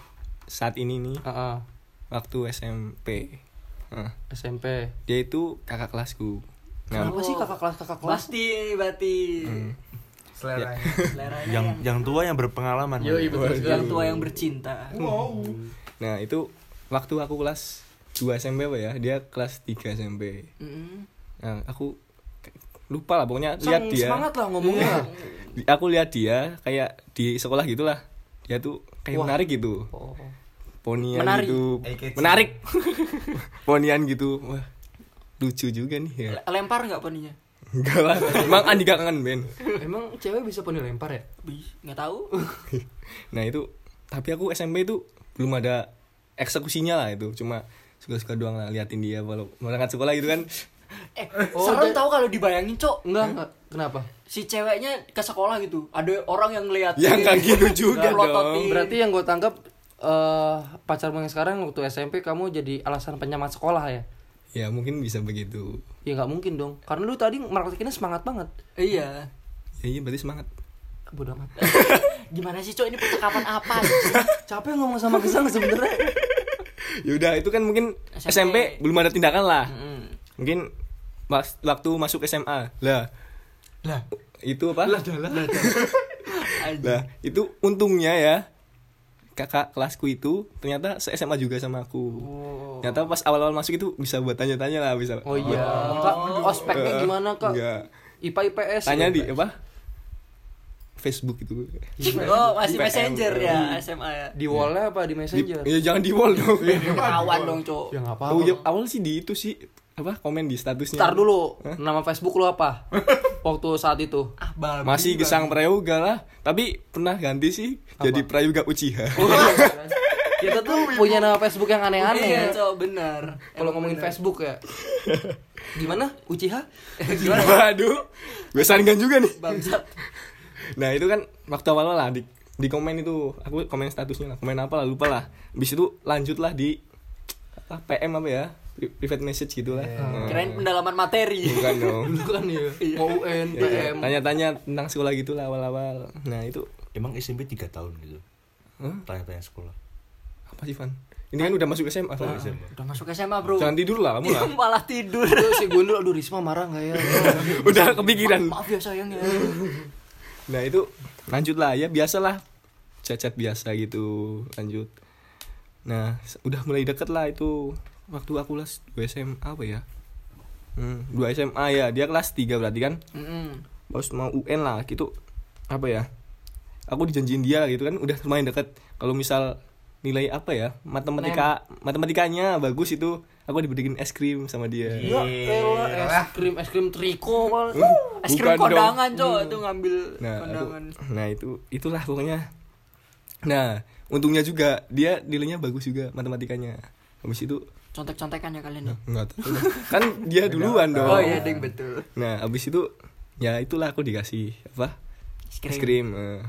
S5: saat ini nih
S1: Heeh.
S5: waktu SMP Heeh.
S1: SMP.
S5: dia itu kakak kelasku Nah,
S1: Kenapa sih kakak kelas kakak kelas?
S2: Pasti berarti.
S4: Selera.
S2: Seleranya
S3: yang
S2: yang,
S3: yang tua yang berpengalaman
S1: Yoi,
S3: Bang.
S1: betul
S2: yang tua yang bercinta.
S4: Wow.
S5: nah itu waktu aku kelas 2 SMP apa ya dia kelas 3 SMP
S2: Mm-mm.
S5: nah, aku k- lupa lah pokoknya
S1: Sang,
S5: lihat dia
S1: Semangat lah ngomongnya.
S5: Di- aku lihat dia kayak di sekolah gitulah dia tuh kayak
S1: Wah.
S5: menarik gitu
S1: Oh.
S5: ponian
S2: Menari.
S5: gitu
S4: Eye catching.
S5: menarik ponian gitu wah lucu juga nih ya
S2: Lempar nggak poninya?
S5: enggak lah emang Andi gak kangen Ben
S1: Emang cewek bisa poni lempar ya?
S2: Bi, nggak tahu.
S5: nah itu tapi aku SMP itu belum ada eksekusinya lah itu cuma suka-suka doang lah liatin dia walau berangkat sekolah gitu kan
S2: Eh,
S1: Oh,
S2: serem
S1: da-
S2: tahu kalau dibayangin, Cok.
S1: Enggak, enggak. Kenapa?
S2: Si ceweknya ke sekolah gitu. Ada orang yang ngeliat
S5: ya nggak gitu juga
S2: Melototin.
S5: dong
S1: Berarti yang gue tangkap eh pacarmu yang sekarang waktu SMP kamu jadi alasan penyemangat sekolah ya?
S5: ya mungkin bisa begitu
S1: Ya nggak mungkin dong. Karena lu tadi merakitnya semangat banget.
S2: Iya.
S5: ya iya berarti semangat
S1: Bodoh amat.
S2: Gimana sih, Cok? Ini percakapan apa?
S1: Capek ngomong sama Gesang sebenernya.
S5: ya udah itu kan mungkin
S2: SMP.
S5: SMP, belum ada tindakan lah
S2: Mm.
S5: mungkin mas- waktu masuk SMA lah
S2: Lah.
S5: itu apa lah,
S2: Anjing.
S5: itu untungnya ya kakak kelasku itu ternyata se SMA juga sama aku ternyata pas awal-awal masuk itu bisa buat tanya-tanya lah bisa
S1: Oh iya. Kak, ospeknya
S5: Eh,
S1: gimana kak?
S5: enggak.
S1: IPA IPS.
S5: tanya
S1: ya?
S5: di apa Facebook gitu. itu
S2: Oh, masih
S5: IPM.
S2: messenger ya SMA ya.
S1: Di wallnya apa di
S5: Di-
S1: messenger?
S5: ya jangan di wall dong
S2: Ketahuan dong, Ah, Cok.
S1: Ya nggak apa-apa.
S5: oh, ya, awal sih di itu sih apa komen di statusnya
S1: Ntar dulu, nama Facebook lu apa? Waktu saat itu.
S2: Ah, babi.
S5: masih gesang prayoga lah tapi pernah ganti sih jadi prayoga uchiha
S1: Kita tuh punya nama Facebook yang aneh-aneh.
S2: Iya,
S1: ya.
S2: Cok, benar.
S1: Kalau ngomongin Facebook ya. Gimana? Eh, Uchiha?
S5: waduh gue saringan juga nih
S2: Bangsat.
S5: nah itu kan waktu awal lah di, di komen itu aku komen statusnya lah komen apa lah lupa lah habis itu lanjutlah di apa, PM apa ya pri- private message gitu lah Nah,
S2: Kirain pendalaman materi.
S5: bukan dong
S1: Dulu kan ya.
S2: Iya.
S1: Mau UN,
S5: Ya,
S1: PM.
S5: tanya-tanya tentang sekolah gitu lah awal-awal nah itu
S3: emang SMP 3 tahun gitu
S5: Hah?
S3: tanya-tanya sekolah
S5: apa sih Van ini kan udah masuk SMA Van.
S3: SMA.
S2: Udah masuk SMA, Bro.
S5: jangan tidur lah kamu
S2: Dia
S5: lah
S2: malah tidur.
S1: Aduh, si Gundul, aduh Risma marah nggak ya?
S5: udah kepikiran
S2: Maaf ya sayang ya.
S5: Nah itu lanjut lah ya biasalah cacat biasa gitu lanjut. Nah s- udah mulai deket lah itu waktu aku kelas 2 SMA apa ya? Hmm, 2 SMA ya dia kelas 3 berarti kan
S2: Mm-mm.
S5: Terus mau UN lah gitu apa ya? Aku dijanjiin dia gitu kan udah lumayan deket. Kalau misal nilai apa ya matematika
S2: Nah.
S5: matematikanya bagus itu aku dibeliin es krim sama dia.
S1: Ya
S4: Iya.
S2: eh,
S1: elah, es krim, es krim triko kali.
S2: Es krim
S5: iya, Bukan dong.
S2: kondangan, Cok. Itu ngambil
S5: nah, aku-
S2: kondangan.
S5: nah itu itulah pokoknya nah untungnya juga dia nilainya bagus juga matematikanya habis itu
S2: Contek-contekan ya kalian ya.
S5: nggak tahu kan dia duluan dong
S2: Oh iya, ding betul.
S5: nah habis itu ya itulah aku dikasih apa
S2: Es
S5: es
S2: krim.
S5: krim eh.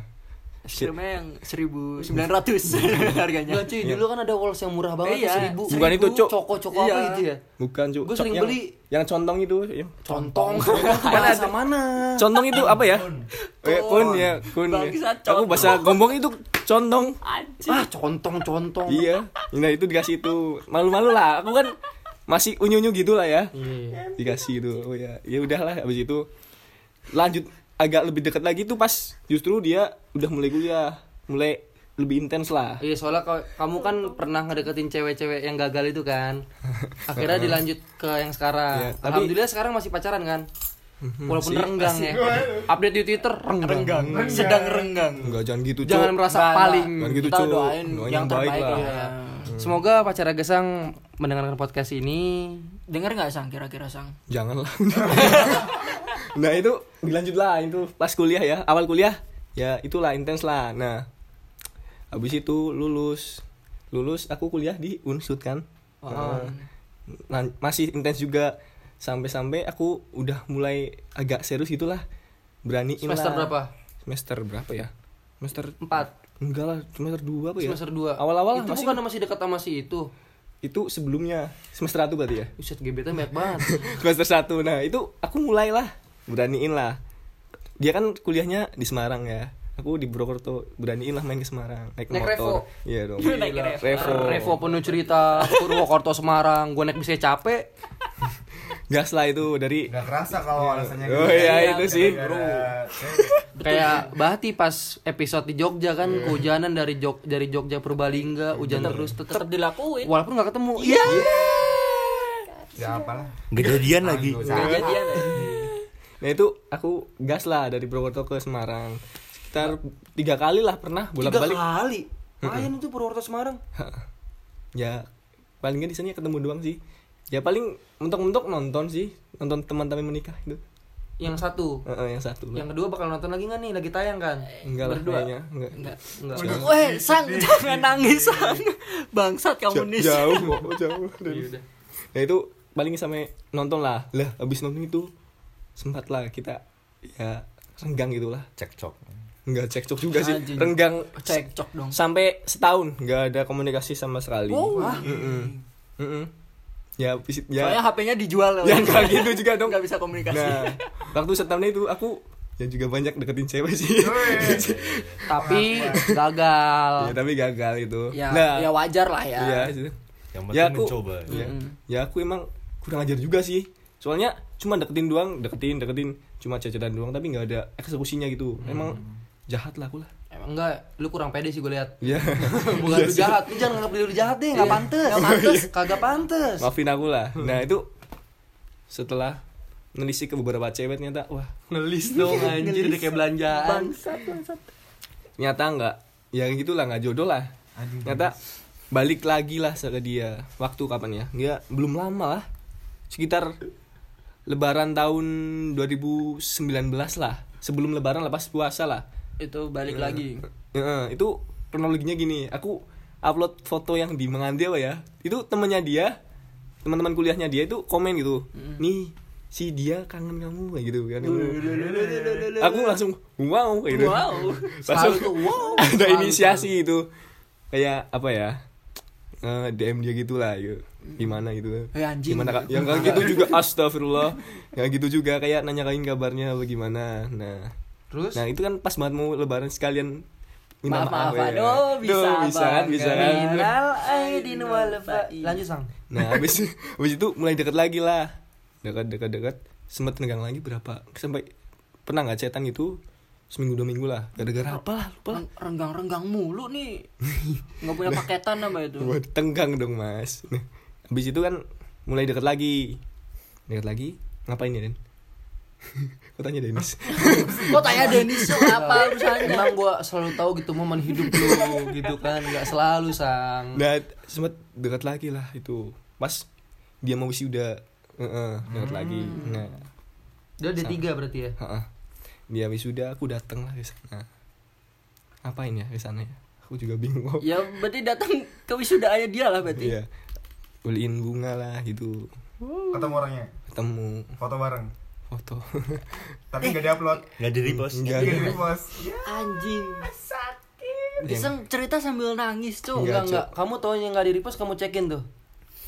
S2: Es krimnya yang 1900
S5: Iya.
S2: harganya.
S1: Enggak cuy, dulu kan ada walls yang murah banget,
S2: Iya.
S1: seribu.
S5: Bukan itu, Cok.
S1: Coko-coko apa
S2: Iya.
S1: gitu ya?
S5: bukan Cuk.
S1: Gua
S5: Cok,
S1: sering
S5: yang,
S1: beli.
S5: yang contong itu ya.
S1: Contong. Contong tuh bahasa mana?
S5: contong itu apa ya Eh, kun ya kun ya.
S2: Bangsat,
S5: aku
S2: contong.
S5: bahasa gombong itu contong
S2: Anjir.
S1: Ah, contong, contong.
S5: iya nah itu dikasih itu malu-malu lah aku kan masih unyu-unyu gitu lah ya
S1: Iya.
S5: dikasih gitu oh ya ya udahlah habis itu lanjut agak lebih dekat lagi tuh pas justru dia udah mulai kuliah mulai lebih intens lah
S1: Iya soalnya kau- kamu kan pernah ngedeketin cewek-cewek yang gagal itu kan Akhirnya dilanjut ke yang sekarang
S5: Iya, tapi- Mhm.
S1: Alhamdulillah sekarang masih pacaran kan Walaupun renggang ya Update di Twitter renggang,
S3: sedang renggang
S5: enggak jangan gitu
S1: Jangan
S5: Cok.
S1: merasa
S2: Enggak,
S1: paling
S5: Jangan gitu
S2: Kita
S5: Cok.
S2: doain yang terbaik lah.
S1: Iya. Semoga pacar Gesang mendengarkan podcast ini
S2: Dengar nggak sang kira-kira sang?
S5: jangan lah nah itu dilanjut lah itu pas kuliah ya awal kuliah ya itulah intens lah nah habis itu lulus lulus aku kuliah di unsud kan Nah, lan- masih intens juga sampai-sampai aku udah mulai agak serius gitulah berani
S1: Semester berapa?
S5: semester berapa ya semester
S1: 4
S5: enggak lah semester dua apa ya
S1: Semester 2
S5: Awal-awal
S1: Itu
S5: masih-
S1: bukan masih dekat sama si itu
S5: itu sebelumnya semester satu berarti ya
S1: Buset gebetan banyak banget
S5: semester satu nah itu aku mulailah beraniin lah dia kan kuliahnya di Semarang ya aku di Purwokerto beraniin lah main ke Semarang naik,
S1: Naik
S5: motor
S1: Revo.
S5: iya dong
S2: Naik Revo.
S5: Revo.
S1: Revo penuh cerita Purwokerto Semarang Gue naik bisa capek
S5: gas lah itu dari
S4: Gak kerasa kalau alasannya gitu.
S5: oh iya itu sih
S1: kayak Bahti pas episode di Jogja kan
S5: Iya.
S1: kehujanan dari Jog dari Jogja Purbalingga hujan terus tetap
S2: Tetap dilakuin.
S1: walaupun nggak ketemu iya
S4: Ya apalah
S3: kejadian lagi
S5: Anu,
S2: Kejadian.
S5: nah itu aku gas lah dari Purwokerto ke Semarang sekitar tiga kali lah pernah bolak
S1: tiga
S5: balik
S1: kali Mayan itu Purwokerto Semarang
S5: ya paling nggak di sini ketemu doang sih ya paling mentok-mentok nonton sih nonton teman-teman menikah itu
S1: yang satu
S5: Eh, eh, yang satu lah.
S1: yang kedua bakal nonton lagi nggak nih lagi tayang kan
S5: enggak lah
S1: berdua.
S5: kayaknya enggak, Iya.
S2: Enggak.
S1: Enggak.
S2: Weh, eh, sang jangan nangis sang. Bangsat kamu nih. Sang.
S5: jauh kok, jauh nah itu paling sampai nonton lah lah abis nonton itu sempat lah kita ya renggang gitulah
S3: cekcok
S5: nggak cekcok juga sih
S2: Anjing.
S5: renggang
S2: Cekcok dong.
S5: sampai setahun nggak ada komunikasi sama sekali
S2: Wow.
S5: Mm-mm. Mm-mm. ya abis-
S2: Soalnya
S5: ya
S2: HP-nya dijual loh.
S5: ya nggak gitu juga dong
S2: Nggak bisa komunikasi.
S5: nah waktu setahun itu aku ya juga banyak deketin cewek sih
S1: tapi gagal
S5: ya tapi gagal itu
S2: ya,
S5: nah
S2: ya wajar lah ya.
S5: ya, itu.
S3: yang penting
S5: Ya, aku-
S3: mencoba
S5: ya, ya aku emang kurang ajar juga sih soalnya cuma deketin doang deketin deketin cuma cecetan doang tapi nggak ada eksekusinya gitu emang jahat lah aku lah
S1: enggak lu kurang pede sih gue lihat
S5: ya
S1: bukan lu jahat lu jangan nganggap diri lu jahat deh nggak pantes nggak pantes kagak pantes
S5: maafin aku lah nah itu setelah nelisik ke beberapa cewek ternyata wah
S1: ngelis dong anjir udah kayak belanjaan
S5: ternyata nggak ya gitulah nggak jodoh lah ternyata balik lagi lah ke dia waktu kapan ya nggak belum lama lah sekitar lebaran tahun 2019 lah sebelum lebaran lepas puasa lah
S2: Itu balik
S5: Iya.
S2: lagi.
S5: Heeh, itu kronologinya gini, aku upload foto yang di Menganti apa ya? Itu temennya dia, teman-teman kuliahnya dia itu komen gitu. Nih, si dia kangen kamu kayak gitu kan. aku langsung wow kayak gitu.
S2: Wow.
S5: langsung
S1: Selalu tuh, wow.
S5: ada
S1: Selalu
S5: inisiasi itu. Kayak apa ya? eh, DM dia gitulah gitu. Gimana gitu.
S2: Eh, anjing.
S5: Gimana Kak? Yang kayak gitu juga astagfirullah. Yang gitu juga kayak nanya nanyain kabarnya apa gimana. Nah,
S1: terus
S5: Nah itu kan pas banget mau lebaran sekalian minta
S2: Maaf, maaf,
S5: ya.
S2: aduh, bisa,
S5: Duh, bisa kan, bisa kan.
S1: Minal aidin wal fa'in. lanjut sang
S5: Nah abis, abis itu mulai deket lagi lah, dekat dekat dekat, sempat tegang lagi berapa sampai pernah nggak cetan gitu seminggu dua minggu lah gara-gara apa lah lupa lah.
S2: Reng- Renggang-renggang mulu nih. Nggak
S5: Nah.
S2: punya paketan apa itu.
S5: Wah, tenggang dong mas. Nah, abis itu kan mulai deket lagi, deket lagi ngapain ya Den? Kau tanya Denis.
S2: Kok tanya Denis tuh apa urusannya?
S1: Emang gua selalu tahu gitu momen hidup lu gitu kan nggak selalu sang
S5: Nah, sempat dekat lagi lah itu. Pas dia mau wisuda, eh, eh, dekat lagi.
S2: Hmm.
S5: Nah,
S1: dia ada tiga berarti ya
S5: heeh. dia wisuda aku datang lah ke sana. Ngapain ya ke sana ya? Aku juga bingung. kok.
S2: Ya berarti datang ke wisudaannya dia lah berarti.
S5: Iya. Beliin bunga lah gitu.
S4: Ketemu orangnya
S5: Ketemu
S4: Foto bareng
S5: foto.
S4: Tapi gak diupload
S3: nggak di repost
S5: Enggak.
S4: Gak di post
S2: Anjing. Iseng cerita sambil nangis, Cuk.
S1: enggak
S5: Enggak,
S1: enggak kamu tau yang nggak di repost kamu cekin tuh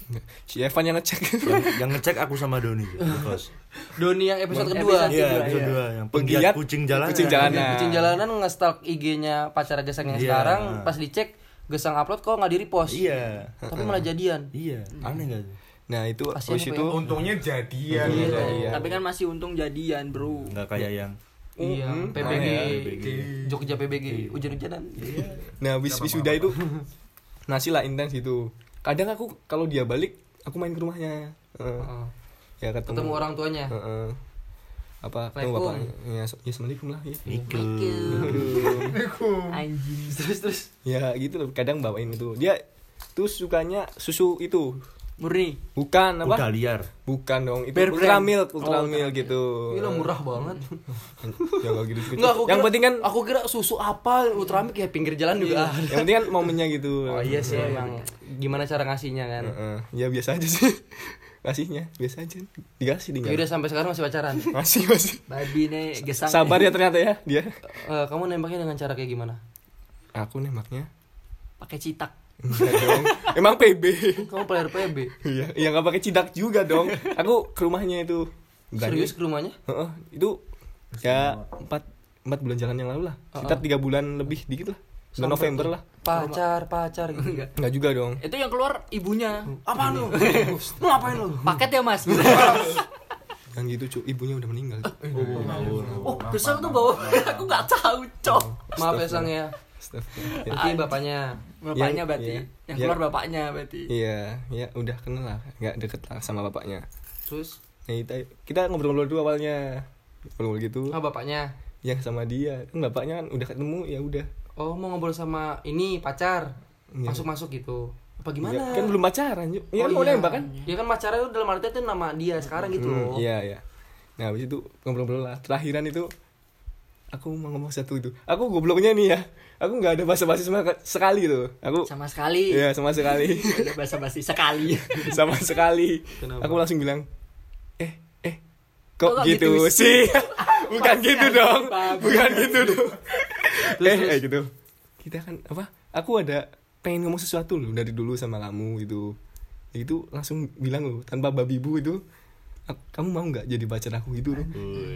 S5: Enggak. Si Evan yang ngecek.
S3: yang, yang ngecek aku sama Doni repost
S1: Doni yang episode kedua
S2: Episode
S3: iya episode dua yang penggiat
S5: Penggiat
S3: kucing jalanan
S5: kucing jalanan. Nah.
S1: kucing jalanan nge-stalk IG-nya pacar gesang yang
S3: Iya.
S1: sekarang pas dicek gesang upload kok nggak di repost
S3: iya
S1: tapi malah jadian
S3: iya aneh nggak tuh?
S5: Nah itu
S1: Kasian
S5: Osh
S1: apa
S5: itu
S1: ya?
S4: Untungnya jadian.
S5: Iya,
S4: Iya.
S5: jadian.
S2: Tapi kan masih untung jadian, Bro.
S3: nggak kayak yang
S1: Iya,
S5: Mm-mm.
S1: PBG.
S3: Iya, PBG.
S1: Jogja PBG, hujan-hujanan.
S5: Nah wis wisuda itu nasi lah intens gitu. Kadang aku kalau dia balik aku main ke rumahnya. Eh,
S1: Heeh.
S5: ya ketemu,
S1: Ketemu orang tuanya.
S5: Eh, eh. apa ketemu
S1: Waalaikum.
S5: bapaknya ya, so- ya assalamualaikum lah ya.
S2: Anjing.
S1: Terus terus
S5: ya gitu loh kadang bawain itu dia tuh sukanya susu itu
S2: Murni.
S5: bukan apa
S3: udah liar
S5: bukan dong itu
S2: Bear
S5: ultra
S2: brand.
S5: milk ultra
S2: Oh,
S5: milk gitu
S1: Gila murah banget.
S5: ya nggak gitu gitu
S1: Enggak, aku
S5: yang
S1: kira-
S5: penting kan
S1: aku kira susu apa Ultramik ya pinggir jalan juga ada.
S5: yang penting kan momennya gitu
S1: Oh iya sih emang gimana cara ngasihnya kan.
S5: Heeh. ya biasa aja sih kasihnya biasa aja dikasih
S1: Ya udah
S5: tinggal
S1: sampai sekarang masih pacaran.
S5: masih masih
S2: Babi nih gesang.
S5: sabar ya ternyata ya dia
S1: Eh, kamu nembaknya dengan cara kayak gimana?
S5: aku nembaknya
S2: Pakai citak.
S5: Enggak dong. emang PB
S1: Kamu player PB.
S5: iya ya nggak pakai cidak juga dong aku ke rumahnya itu Bukan,
S1: Serius ke rumahnya?
S5: Heeh, itu ya empat empat bulan jalan yang lalu lah sekitar tiga bulan lebih dikit lah bulan November lah
S1: Pacar, pacar gitu enggak.
S5: nggak juga dong
S2: Itu yang keluar ibunya.
S5: Hmm.
S1: Apaan lu? Lu ngapain lu?
S2: Paket ya, Mas.
S5: yang gitu cu ibunya udah meninggal
S2: oh, besar tuh bawa. Aku nggak tahu, Cok.
S1: Maaf ya Sang ya.
S5: Astagfirullah. Ya.
S1: Berarti bapaknya.
S2: Bapaknya
S5: Yang-
S2: berarti.
S5: iya.
S2: Yang
S5: Iya.
S2: keluar bapaknya berarti.
S5: iya ya udah kenal lah nggak deket lah sama bapaknya
S1: Terus
S5: Nah, kita, kita ngobrol-ngobrol dulu awalnya ngobrol gitu
S1: ah bapaknya.
S5: ya sama dia kan bapaknya kan udah ketemu ya udah
S1: Oh, mau ngobrol sama ini pacar.
S5: Iya.
S1: Masuk-masuk gitu. Apa gimana?
S5: Ya, kan belum pacaran yuk
S1: Oh,
S5: ya kan mau
S1: iya.
S5: nembak kan
S1: Ya kan pacaran itu dalam artinya itu nama dia sekarang gitu
S5: Hmm,
S1: loh.
S5: iya iya nah habis itu ngobrol-ngobrol lah terakhiran itu aku mau ngomong satu itu aku gobloknya nih ya aku nggak ada bahasa-bahasa sama sekali tuh aku
S2: Sama sekali.
S5: Iya sama sekali
S2: Ada basa-basi sekali.
S5: sama sekali
S1: Kenapa?
S5: aku langsung bilang eh eh kok,
S1: Oh,
S2: Kok kok
S5: gitu,
S2: gitu
S5: sih bukan
S2: Pasti
S5: gitu
S2: ada
S5: dong
S2: babi.
S5: bukan gitu dong eh eh gitu kita kan apa aku ada pengen ngomong sesuatu loh dari dulu sama kamu gitu Ya itu langsung bilang loh tanpa babi bu itu "Ak- kamu mau nggak jadi pacar aku gitu loh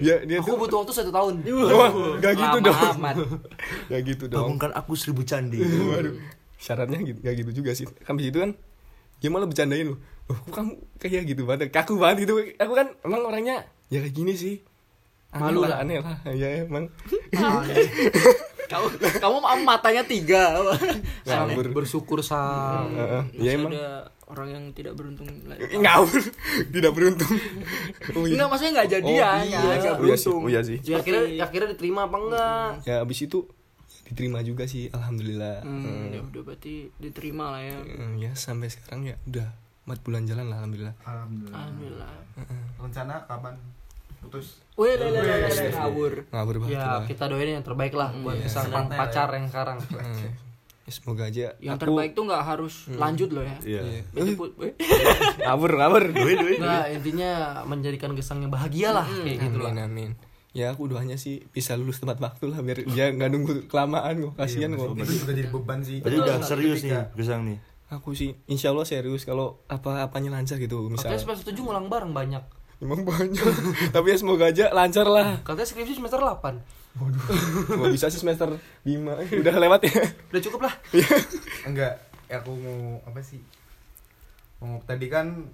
S5: ya dia
S1: Aku
S5: tuh
S1: butuh waktu satu tahun.
S5: Wah, Iya. nggak gitu
S1: Lama
S5: dong
S1: amat.
S5: nggak gitu dong
S3: bangunkan aku seribu candi
S5: syaratnya gitu nggak gitu juga sih habis itu kan dia malah bercandain loh oh, kok kamu kayak gitu banget kaku banget gitu aku kan emang orangnya ya kayak gini sih Aneh
S1: Malu lah.
S5: aneh lah ya emang
S2: Hmm. kamu kamu matanya tiga.
S5: ngawur
S1: Bersyukur sang.
S5: Heeh, ya emang Eh, Iya.
S2: Ada orang yang tidak beruntung lain.
S5: ngawur tidak beruntung oh, iya.
S2: Enggak, maksudnya enggak jadian, kan?
S5: iya.
S2: nggak- nggak
S5: Oh, iya sih,
S2: beruntung.
S5: oh, iya sih.
S1: Ya, akhirnya akhirnya diterima apa enggak?
S5: ya habis itu diterima juga sih alhamdulillah
S2: Hmm,
S5: Hmm.
S2: ya udah berarti diterima lah ya.
S5: Hmm, ya sampai sekarang ya udah empat bulan jalan lah alhamdulillah
S4: Alhamdulillah.
S2: Alhamdulillah.
S4: Rencana kapan? Putus.
S2: Wih, lah, lah, lah, lah, lah, ngawur.
S5: ngawur banget
S1: Ya,
S5: lah.
S1: kita doain yang terbaik lah
S4: Iya.
S1: buat sang
S4: Senang
S1: pacar yang sekarang.
S4: Iya.
S5: Hmm. Ya, semoga aja
S2: Yang
S5: aku-
S2: terbaik tuh nggak harus lanjut loh ya.
S3: iya
S2: Itu put- eh,
S5: ngawur ngawur
S1: Nah, intinya menjadikan gesangnya bahagia lah kayak gitu lah.
S5: amin, amin. Ya aku doanya sih bisa lulus tepat waktu lah biar dia nggak nunggu kelamaan kok kasihan
S1: Iya,
S5: kok.
S4: Itu juga jadi beban sih.
S3: jadi udah serius nih
S4: Ketika-
S3: gesang nih
S5: Aku sih insya Allah serius kalau apa-apanya lancar gitu
S1: Katanya
S5: misalnya.
S1: semester 7 ngulang bareng banyak.
S5: Emang banyak. Tapi ya semoga aja lancar lah.
S1: Katanya skripsi semester 8.
S5: Gak bisa sih semester 5 udah lewat ya.
S1: Udah cukup lah.
S4: Enggak, eh, aku mau apa sih? Mau tadi kan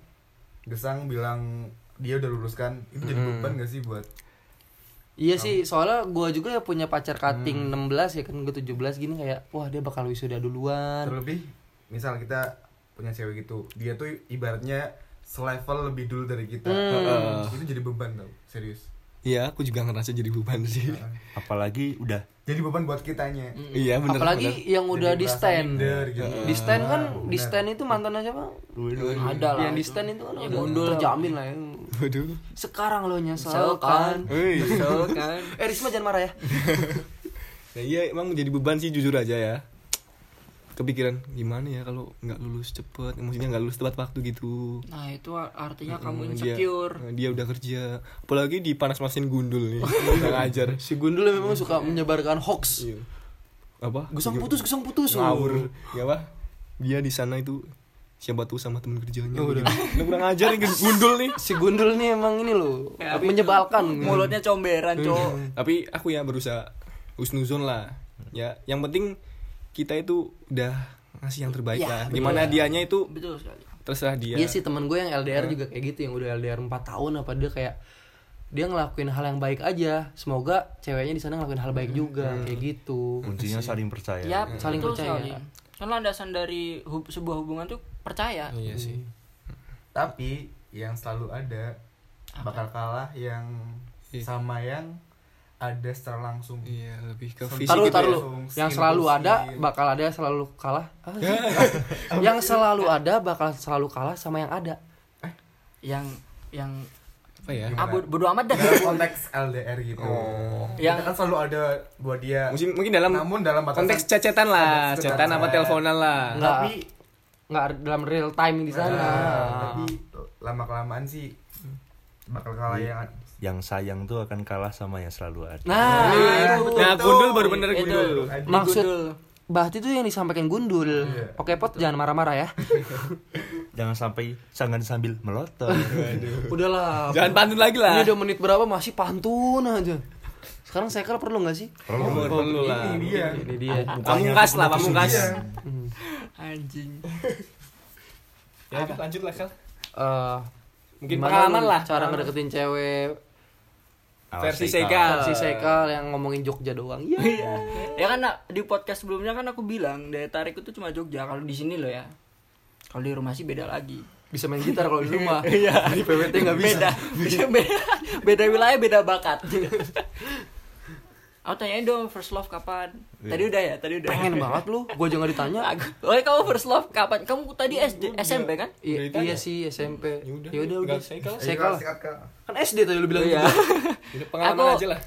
S4: Gesang bilang dia udah lulus kan. Itu jadi beban gak sih buat
S1: Iya sih, soalnya gua juga ya punya pacar
S4: Hmm.
S1: cutting 16 ya kan gua 17 gini kayak wah dia bakal wisuda duluan.
S4: terlebih misal kita punya cewek gitu. Dia tuh ibaratnya selevel lebih dulu dari kita.
S5: Heeh.
S4: Itu jadi beban tau, serius.
S5: Iya aku juga ngerasa jadi beban sih.
S3: apalagi udah
S4: Jadi beban buat kitanya.
S5: Iya bener.
S1: Apalagi
S5: bener.
S1: yang udah
S4: ya Jadi
S1: di
S4: merasa
S1: stand.
S4: minder gitu.
S1: Di stand kan
S4: Bener.
S1: di stand itu mantannya siapa?
S2: Ada lah.
S1: Yang di
S2: itu.
S1: stand itu kan
S2: Ya,
S1: udah
S2: gundul.
S1: terjamin lah ya.
S5: Waduh.
S1: Sekarang lo nyesel
S2: Misalkan.
S1: kan.
S5: Wih.
S2: Misalkan.
S1: Eh Risma jangan marah ya.
S5: Nah, iya emang jadi beban sih jujur aja ya. Kepikiran gimana ya kalau nggak lulus cepet, maksudnya nggak lulus tepat waktu gitu.
S2: Nah, itu artinya kamu
S5: Mm, dia-
S2: insecure.
S5: eh, Dia, udah kerja. Apalagi di panas-panasin gundul nih. Kurang ajar.
S1: Si Gundul memang suka menyebarkan hoax.
S5: Iya. Apa?
S1: Gesang putus, gesang putus.
S5: Ngawur. Ya apa? Dia di sana itu siapa tuh sama temen kerjanya. Oh, udah. kurang ajar nih gundul nih.
S1: Si Gundul nih emang ini loh,
S2: Kayak Abi
S1: menyebalkan.
S2: tuh, Mulutnya comberan, Cok.
S5: Tapi aku ya berusaha usnuzon lah. Ya, yang penting kita itu udah ngasih yang terbaik
S2: Iya,
S5: lah
S2: betul.
S5: gimana dianya itu
S2: betul sekali
S5: terserah dia
S1: Iya sih teman gue yang LDR juga kayak gitu yang udah LDR 4 tahun apa dia kayak dia ngelakuin hal yang baik aja. Semoga ceweknya di sana ngelakuin hal baik juga kayak gitu.
S3: kuncinya saling percaya
S2: ya
S1: Saling
S2: betul
S1: percaya.
S2: sekali kan landasan dari hub- sebuah hubungan tuh percaya
S5: iya sih
S4: tapi yang selalu ada bakal kalah yang
S5: Iya.
S4: sama yang ada secara langsung
S5: iya lebih ke
S4: Taruh,
S5: visi
S1: Taruh
S5: gitu
S1: taruh
S5: ya.
S1: lu. yang selalu ada bakal ada selalu kalah. Ah, sih. yang selalu ada bakal selalu kalah sama yang ada.
S2: yang yang
S5: apa ya
S4: Gimana?
S2: ah bod- bodo amat dah
S4: dalam konteks LDR gitu yang
S2: Yang-
S4: kan selalu ada buat dia
S5: Oh. mungkin mungkin dalam
S4: namun dalam batasan
S5: konteks cecetan Iya. lah
S4: Konteks
S5: cetan apa
S4: cecetan.
S5: teleponan lah
S1: Enggak.
S4: tapi
S1: Nggak dalam real time di sana.
S4: Nah, tapi lama kelamaan sih bakal kalah yang
S3: yang sayang tuh akan kalah sama yang selalu ada
S1: Nah,
S4: Iya.
S1: itu.
S5: nah
S4: Betul.
S5: gundul baru bener
S4: Itu.
S5: gundul
S4: Aduh.
S1: maksud Bahti itu yang disampaikan Gundul.
S4: Iya.
S1: Oke, Pot, jangan marah-marah ya.
S3: jangan sampai sangan sambil melotot
S1: Udahlah.
S5: jangan pantun lagi lah
S1: Ini udah menit berapa masih pantun aja. Sekarang sekel perlu nggak sih?
S3: Perlu.
S5: perlu lah
S4: ini dia
S1: Ini dia.
S5: pamungkas lah pamungkas
S4: Iya.
S2: anjing
S5: ya lanjut lah kal
S1: Eh,
S5: Mungkin
S1: gimana
S5: pengalaman
S1: lu
S5: lah.
S1: Cara
S5: Pengalaman.
S1: ngedeketin cewek
S3: Awas,
S5: versi
S3: Eka.
S5: Sega
S1: versi sekal yang ngomongin Jogja doang. Iya.
S2: ya kan nak, di podcast sebelumnya kan aku bilang daya tarik itu cuma Jogja kalau di sini loh ya kalau di rumah sih beda lagi
S1: Bisa main gitar kalau di rumah.
S2: Iya.
S1: Iya, Di PWT nggak bisa.
S2: beda beda beda wilayah beda bakat aku tanyain dong first love kapan
S1: Iya.
S2: tadi udah ya tadi udah Ya,
S1: Pengen banget lu. Gua jangan ditanya.
S2: Aku- Oke kamu first love kapan? Kamu tadi
S1: Iya.
S2: SD, SMP kan?
S1: I- iya
S5: ditanya.
S1: sih SMP.
S5: Yaudah,
S1: Ya udah udah.
S5: nggak usah, Ikal.
S1: Sekal.
S4: Sikat, Kak.
S1: Kan SD tadi lu bilang
S2: Iya.
S1: gitu.
S5: Udah, pengalaman
S2: Aku-
S5: aja lah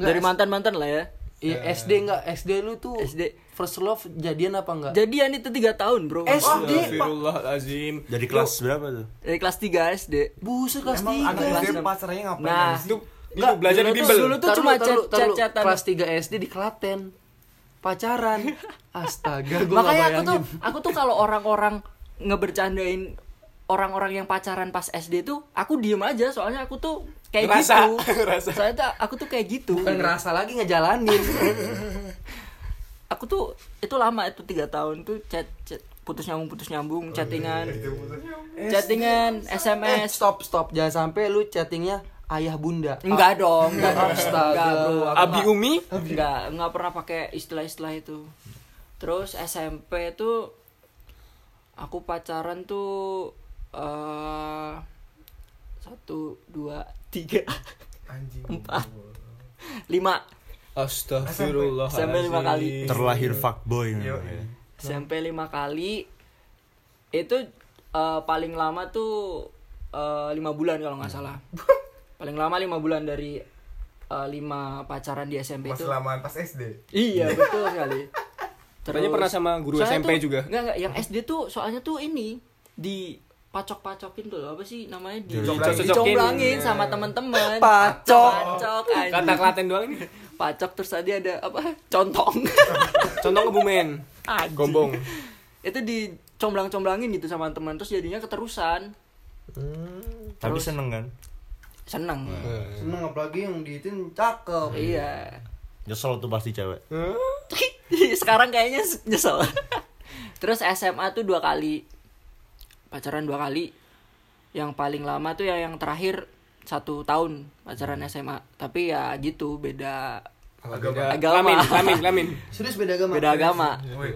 S1: Nggak,
S2: Dari
S1: S-
S2: mantan-mantan lah ya
S1: Iya SD enggak SD lu tuh
S2: SD.
S1: first love jadian apa enggak?
S2: Jadian itu 3 tahun
S1: SD,
S2: bro
S1: Pak.
S5: Astagfirullahalazim
S3: jadi kelas berapa tuh
S2: Dari kelas 3 SD
S1: Buset kelas
S4: emang anak
S1: 3.
S4: SD
S2: Kelas-
S4: pasarnya ngapain
S2: Nah.
S4: sih?
S5: itu itu belajar di bimbel
S2: dulu tuh cuma chat- chat-chatan.
S1: kelas 3 SD di Klaten pacaran astaga gue
S2: Makanya aku tuh aku tuh kalau orang-orang ngebercandain orang-orang yang pacaran pas SD tuh aku diem aja soalnya aku tuh kayak
S5: Ngerasa,
S2: gitu.
S5: ngerasa.
S2: Soalnya tuh aku tuh kayak gitu.
S1: bukan ngerasa lagi ngejalanin
S2: Aku tuh itu lama itu tiga tahun tuh chat, chat putus nyambung putus nyambung chattingan chattingan
S1: eh
S2: SMS
S1: stop stop jangan sampai lu chattingnya ayah bunda
S2: enggak dong enggak dong.
S1: Astaga.
S2: Enggak, bro. Aku
S5: Abi
S2: nggak-
S5: Umi
S2: enggak enggak pernah pakai istilah-istilah itu terus SMP tuh aku pacaran tuh eh satu dua tiga
S4: anjing
S2: Empat. lima
S5: Astagfirullah
S2: Sampai lima kali.
S3: terlahir fuckboy
S4: Yo,
S3: namanya.
S2: SMP lima kali itu eh, paling lama tuh eh, lima bulan kalau
S5: Hmm.
S2: nggak salah paling lama lima bulan dari eh, lima pacaran di SMP
S4: pas
S2: itu
S4: lamaan pas SD
S2: Iya betul sekali.
S5: Katanya pernah sama guru
S2: Soalnya
S5: SMP
S2: tuh-
S5: juga.
S2: Enggak enggak, yang SD tuh soalnya tuh ini di pacok-pacokin tuh loh, apa sih namanya di
S4: Dicocok-cocokin.
S2: dicomblangin sama teman-teman.
S5: Iya. Pacok.
S2: Pacok. anjing.
S5: Kata Klaten doang ini.
S2: Pacok terus tadi ada apa? Contong.
S5: Contoh kebumen.
S2: Anjing.
S5: Gombong.
S2: Itu dicomblang-comblangin gitu sama teman terus jadinya keterusan.
S3: tapi
S2: Terus-
S3: seneng kan
S2: Seneng.
S5: Nah.
S1: seneng apalagi yang diitin cakep
S2: Iya.
S3: nyesel tuh pasti cewek
S2: Hmm. Sekarang kayaknya s- nyesel. Terus SMA tuh dua kali pacaran dua kali. Yang paling lama tuh ya yang terakhir satu tahun pacaran
S5: Hmm.
S2: SMA. Tapi ya gitu beda
S5: Agama.
S2: Agama.
S5: Eh, Lamin, lamin, lamin.
S1: serius beda agama
S2: beda agama.
S4: Woi,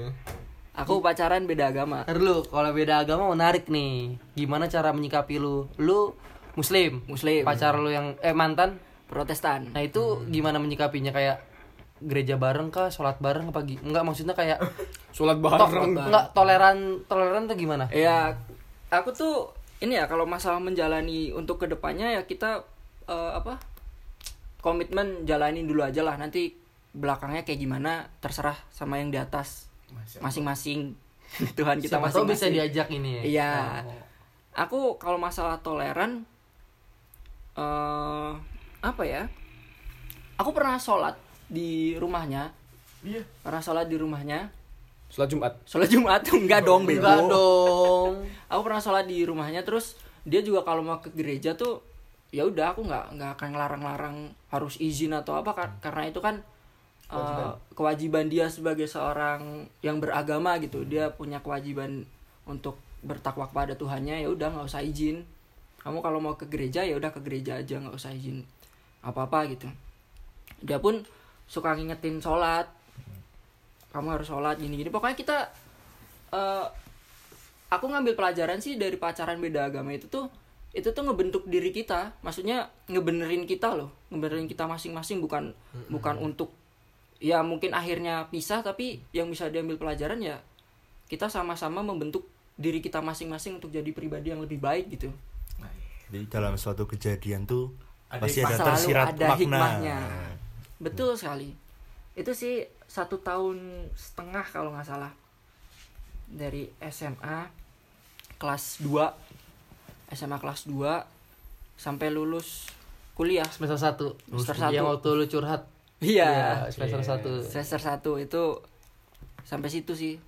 S2: Aku pacaran beda agama.
S1: Ntar lu kalau beda agama menarik nih gimana cara menyikapi lu lu muslim
S2: Muslim.
S1: pacar lu yang eh mantan
S2: Protestan.
S1: Nah itu gimana menyikapinya kayak gereja bareng kah, sholat bareng apa gi- Enggak maksudnya kayak
S5: Sholat
S1: to-
S5: bareng.
S1: enggak toleran toleran tuh gimana?
S2: Ya aku tuh ini ya kalau masalah menjalani untuk kedepannya ya kita eh, apa komitmen jalanin dulu aja lah nanti belakangnya kayak gimana terserah sama yang di atas masing-masing Tuhan Eh, kita
S1: Siapa tahu bisa
S2: masing-masing.
S1: diajak ini ya.
S2: Iya. Aku kalau masalah toleran eh apa ya? Aku pernah sholat di rumahnya.
S4: Iya.
S2: Pernah sholat di rumahnya.
S5: Sholat Jumat.
S2: Sholat Jumat enggak dong, bego.
S1: Enggak dong.
S2: Aku pernah sholat di rumahnya terus dia juga kalau mau ke gereja tuh ya udah aku nggak nggak akan ngelarang-larang harus izin atau apa kar- karena itu kan eh, kewajiban dia sebagai seorang yang beragama gitu dia punya kewajiban untuk bertakwa kepada Tuhannya ya udah nggak usah izin kamu kalau mau ke gereja ya udah ke gereja aja nggak usah izin apa apa gitu dia pun suka ngingetin sholat kamu harus sholat gini gini pokoknya kita eh, aku ngambil pelajaran sih dari pacaran beda agama itu tuh itu tuh ngebentuk diri kita maksudnya ngebenerin kita loh ngebenerin kita masing-masing bukan bukan untuk ya mungkin akhirnya pisah tapi yang bisa diambil pelajaran ya kita sama-sama membentuk diri kita masing-masing untuk jadi pribadi yang lebih baik gitu
S3: Jadi dalam suatu kejadian tuh
S4: Ada
S3: pasti ada
S2: selalu
S3: tersirat
S2: ada
S3: Iya, makna.
S2: hikmahnya betul sekali itu sih satu tahun setengah kalau nggak salah dari SMA kelas 2 SMA kelas 2 sampai lulus kuliah
S1: semester satu
S2: Semester
S1: yang
S2: satu.
S1: waktu lu curhat
S2: iya
S1: Iya, semester satu
S2: semester satu itu sampai situ sih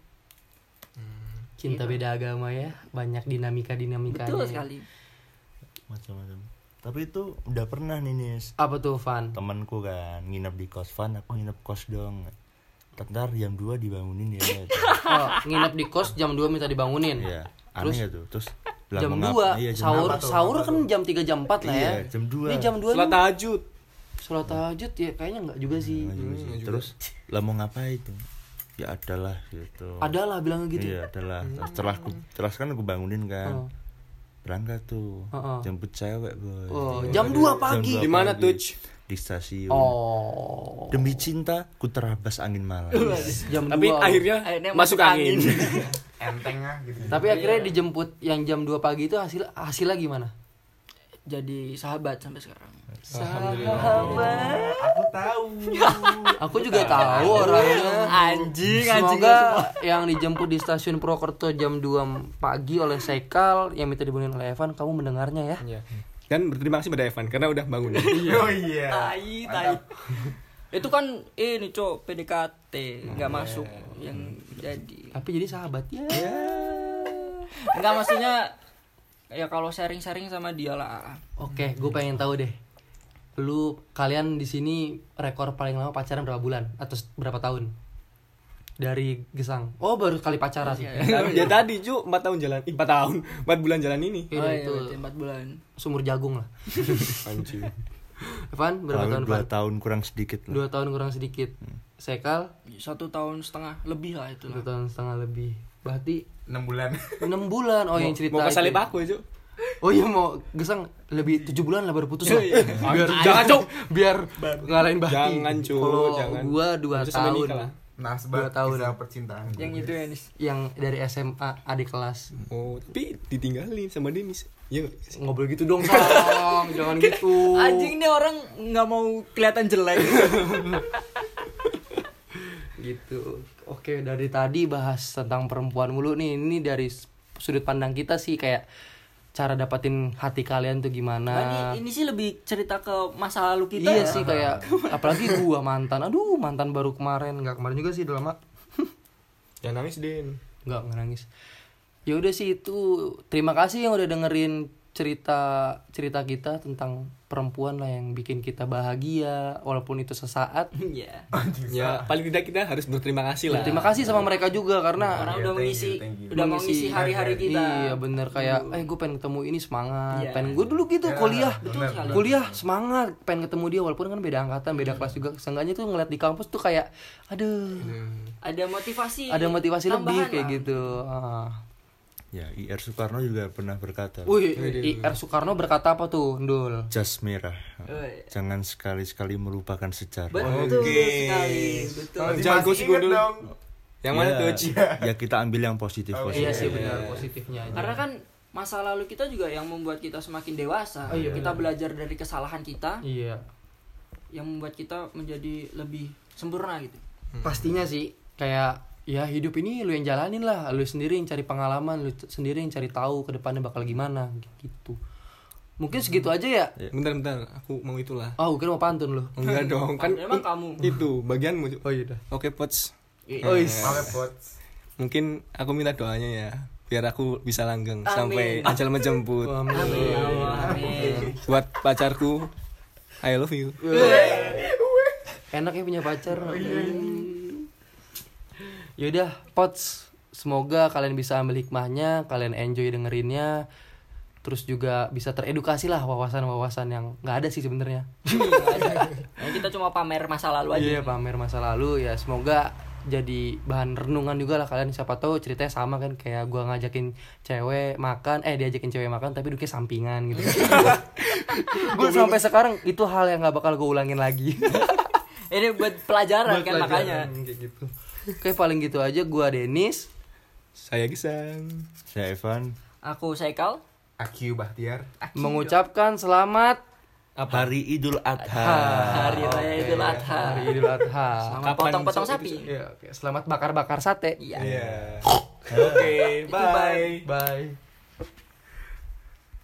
S1: cinta beda agama ya banyak dinamika dinamikanya
S2: betul sekali
S3: Macam-macam. Tapi itu udah pernah nih Nis.
S1: apa tuh Van
S3: Temanku kan nginep di kos Van, aku nginep kos dong. Tentar jam 2 dibangunin ya.
S1: oh, nginep di kos jam 2 minta dibangunin
S3: Iya. Aneh ya tuh. Terus lah,
S1: jam
S3: mengapa-
S1: 2
S3: iya, jam
S1: sahur
S3: berapa tuh?
S1: sahur kan jam 3 jam 4 lah ya
S3: Iya, jam 2.
S1: ini jam 2
S5: Sholat
S1: sholat,
S5: tahajud.
S1: sholat tahajud ya kayaknya enggak juga sih
S3: Terus lah mau ngapain tuh? Ya adalah gitu.
S1: adalah bilangnya gitu Oh.
S3: Iya adalah.
S5: Hmm.
S3: Terus celah ku, celah kan aku bangunin kan. Berangkat tuh.
S1: Heeh.
S3: Jemput cewek, Boy.
S1: Oh,
S3: Iya.
S1: jam 2 pagi.
S3: dua
S5: Di mana,
S3: pagi.
S5: Tuj?
S3: Di stasiun.
S1: Oh.
S3: Demi cinta ku terabas angin malam.
S1: Iya, Jam
S5: Tapi
S1: 2.
S5: akhirnya,
S2: Akhirnya masuk
S5: masuk angin.
S4: enteng ah gitu
S1: Tapi
S5: Iya.
S1: akhirnya dijemput yang jam 2 pagi itu hasil hasilnya gimana?
S2: jadi sahabat sampai sekarang
S4: aku tahu
S1: Aku
S5: Iya.
S1: juga tahu orangnya.
S2: anjing
S1: Eh, Semoga yang dijemput di stasiun Purwokerto jam 2 pagi oleh Sekal yang minta dibunuhin oleh Evan, kamu mendengarnya ya.
S5: Iya. Dan berterima kasih pada Evan karena udah bangun.
S4: oh iya
S2: tai tai itu kan ini cok PDKT nggak
S4: Iya.
S2: masuk yang jadi
S1: Tapi jadi sahabat ya.
S2: nggak maksudnya ya kalau sharing-sharing sama dia lah
S1: Oke, gue pengen tahu deh. Lu kalian di sini rekor paling lama pacaran berapa bulan atau s- berapa tahun? Dari Gesang. Oh, baru kali pacaran.
S5: ya tadi Ju 4 tahun jalan, Ih, 4 tahun, 4 bulan jalan ini.
S1: Iya,
S2: oh, iya,
S1: itu.
S2: berarti empat bulan
S1: Sumur jagung lah.
S5: Anjing.
S1: Evan, berapa
S3: Tahun
S1: tahun,
S3: dua Hmm.
S1: Evan?
S3: tahun kurang sedikit lah.
S1: Dua tahun kurang sedikit. Sekal
S2: satu tahun setengah lebih lah itu
S1: dua
S2: lah.
S1: tahun setengah lebih. Berarti
S4: enam bulan
S1: 6 bulan. Oh, yang cerita
S5: Mau
S1: itu.
S5: kesalip aku, ya, Ju.
S1: Oh iya mau gesang lebih tujuh bulan lah baru putus lah.
S5: Iya.
S1: biar jangan cok biar ngalahin bahti.
S5: Jangan, Cuk,
S1: Kalau
S5: jangan.
S1: gua dua
S5: Terus sampai nikah lah.
S1: tahun
S4: nah
S1: Dua
S4: sebab
S1: tahun.
S4: kisah percintaan
S2: yang itu ya Nis
S1: yang dari SMA adik kelas
S5: Oh, tapi ditinggalin sama Denis. Iya nggak?
S1: ngobrol gitu dong sang jangan gitu.
S2: anjing nih orang nggak mau kelihatan jelek
S1: gitu. Oke dari tadi bahas tentang perempuan mulu nih ini dari s- sudut pandang kita sih kayak cara dapatin hati kalian tuh gimana.
S2: Nah, ini, ini sih lebih cerita ke masa lalu kita
S1: iya
S2: ya.
S1: sih kayak apalagi gua mantan. Aduh, mantan baru kemarin, nggak kemarin juga sih udah lama.
S5: Jangan nangis, Din.
S1: Nggak nggak nangis. Ya udah sih itu. Terima kasih yang udah dengerin cerita cerita kita tentang perempuan lah yang bikin kita bahagia walaupun itu sesaat.
S2: Iya.
S5: Ya, paling tidak kita harus berterima kasih lah.
S1: Terima kasih sama mereka juga karena
S2: orang
S4: Iya,
S2: udah
S4: thank you,
S2: mengisi
S4: thank you.
S2: udah mengisi hari-hari kita
S1: Iya bener kayak eh gue pengen ketemu ini semangat
S2: Iya.
S1: pengen gue dulu gitu kuliah
S4: betul sekali.
S1: kuliah semangat pengen ketemu dia walaupun kan beda angkatan beda kelas juga seenggaknya tuh ngeliat di kampus tuh kayak aduh
S2: ada motivasi
S1: ada motivasi lebih
S2: Iya, tambahan
S1: kayak
S2: lah.
S1: gitu ah.
S3: Ya, IR Soekarno juga pernah berkata,
S1: Wih,
S2: Iya,
S1: IR Soekarno berkata apa tuh, Ndul?
S3: jas merah.
S2: Woi.
S3: Jangan sekali-sekali melupakan sejarah.
S2: betul sekali betul
S5: Masih-
S4: jangan
S5: Jago
S4: gue
S5: sih
S4: sih
S5: gua dulu.
S4: dong
S5: Yang mana
S3: Ya,
S5: tuh, Ci? Oh,
S3: Ya kita ambil yang positif positif.
S1: Iya sih benar positifnya. aja.
S2: karena kan masa lalu kita juga yang membuat kita semakin dewasa
S1: Oh, iya,
S2: kita belajar dari kesalahan kita
S1: Iya.
S2: yang membuat kita menjadi lebih sempurna gitu
S1: Pastinya sih kayak ya hidup ini lu yang jalanin lah, lu sendiri yang cari pengalaman, lu t- sendiri yang cari tahu ke depannya bakal gimana gitu. Mungkin segitu aja ya.
S5: Bentar, bentar. Aku mau itulah.
S1: Oh, kira mau pantun lu.
S5: Enggak dong, kan
S2: Emang kamu?
S5: itu bagianmu. Ju.
S1: Oh iya dah.
S5: Oke, Pots.
S2: Iya.
S1: Oh, iya.
S4: Mame pots
S5: Mungkin aku minta doanya ya biar aku bisa langgeng
S2: Amin.
S5: sampai ajal menjemput.
S2: Amin. Amin.
S5: Buat pacarku, I love you.
S1: enak ya punya pacar yaudah pots semoga kalian bisa ambil hikmahnya kalian enjoy dengerinnya terus juga bisa teredukasi lah wawasan-wawasan yang nggak ada sih sebenarnya
S2: Nah, kita cuma pamer masa lalu aja
S1: iya pamer masa lalu ya semoga jadi bahan renungan juga lah kalian siapa tahu ceritanya sama kan kayak gua ngajakin cewek makan eh diajakin cewek makan tapi duduknya sampingan gitu gue sampai sekarang itu hal yang nggak bakal gue ulangin lagi
S2: ini buat pelajaran kan makanya
S1: kayak gitu oke paling gitu aja gua Denis
S5: Saya Gisang.
S3: Saya Evan.
S2: aku Saikal
S4: Akyu Bahtiar
S1: mengucapkan selamat
S3: Hari Idul Adha.
S2: hari
S1: Oke,
S2: raya Idul Adha
S1: hari Idul Adha
S2: selamat
S5: Kapan
S2: potong-potong
S5: sapi
S2: sapi
S1: Iya, Ya, oke. selamat bakar-bakar sate
S2: iya
S5: Oke, bye.
S1: bye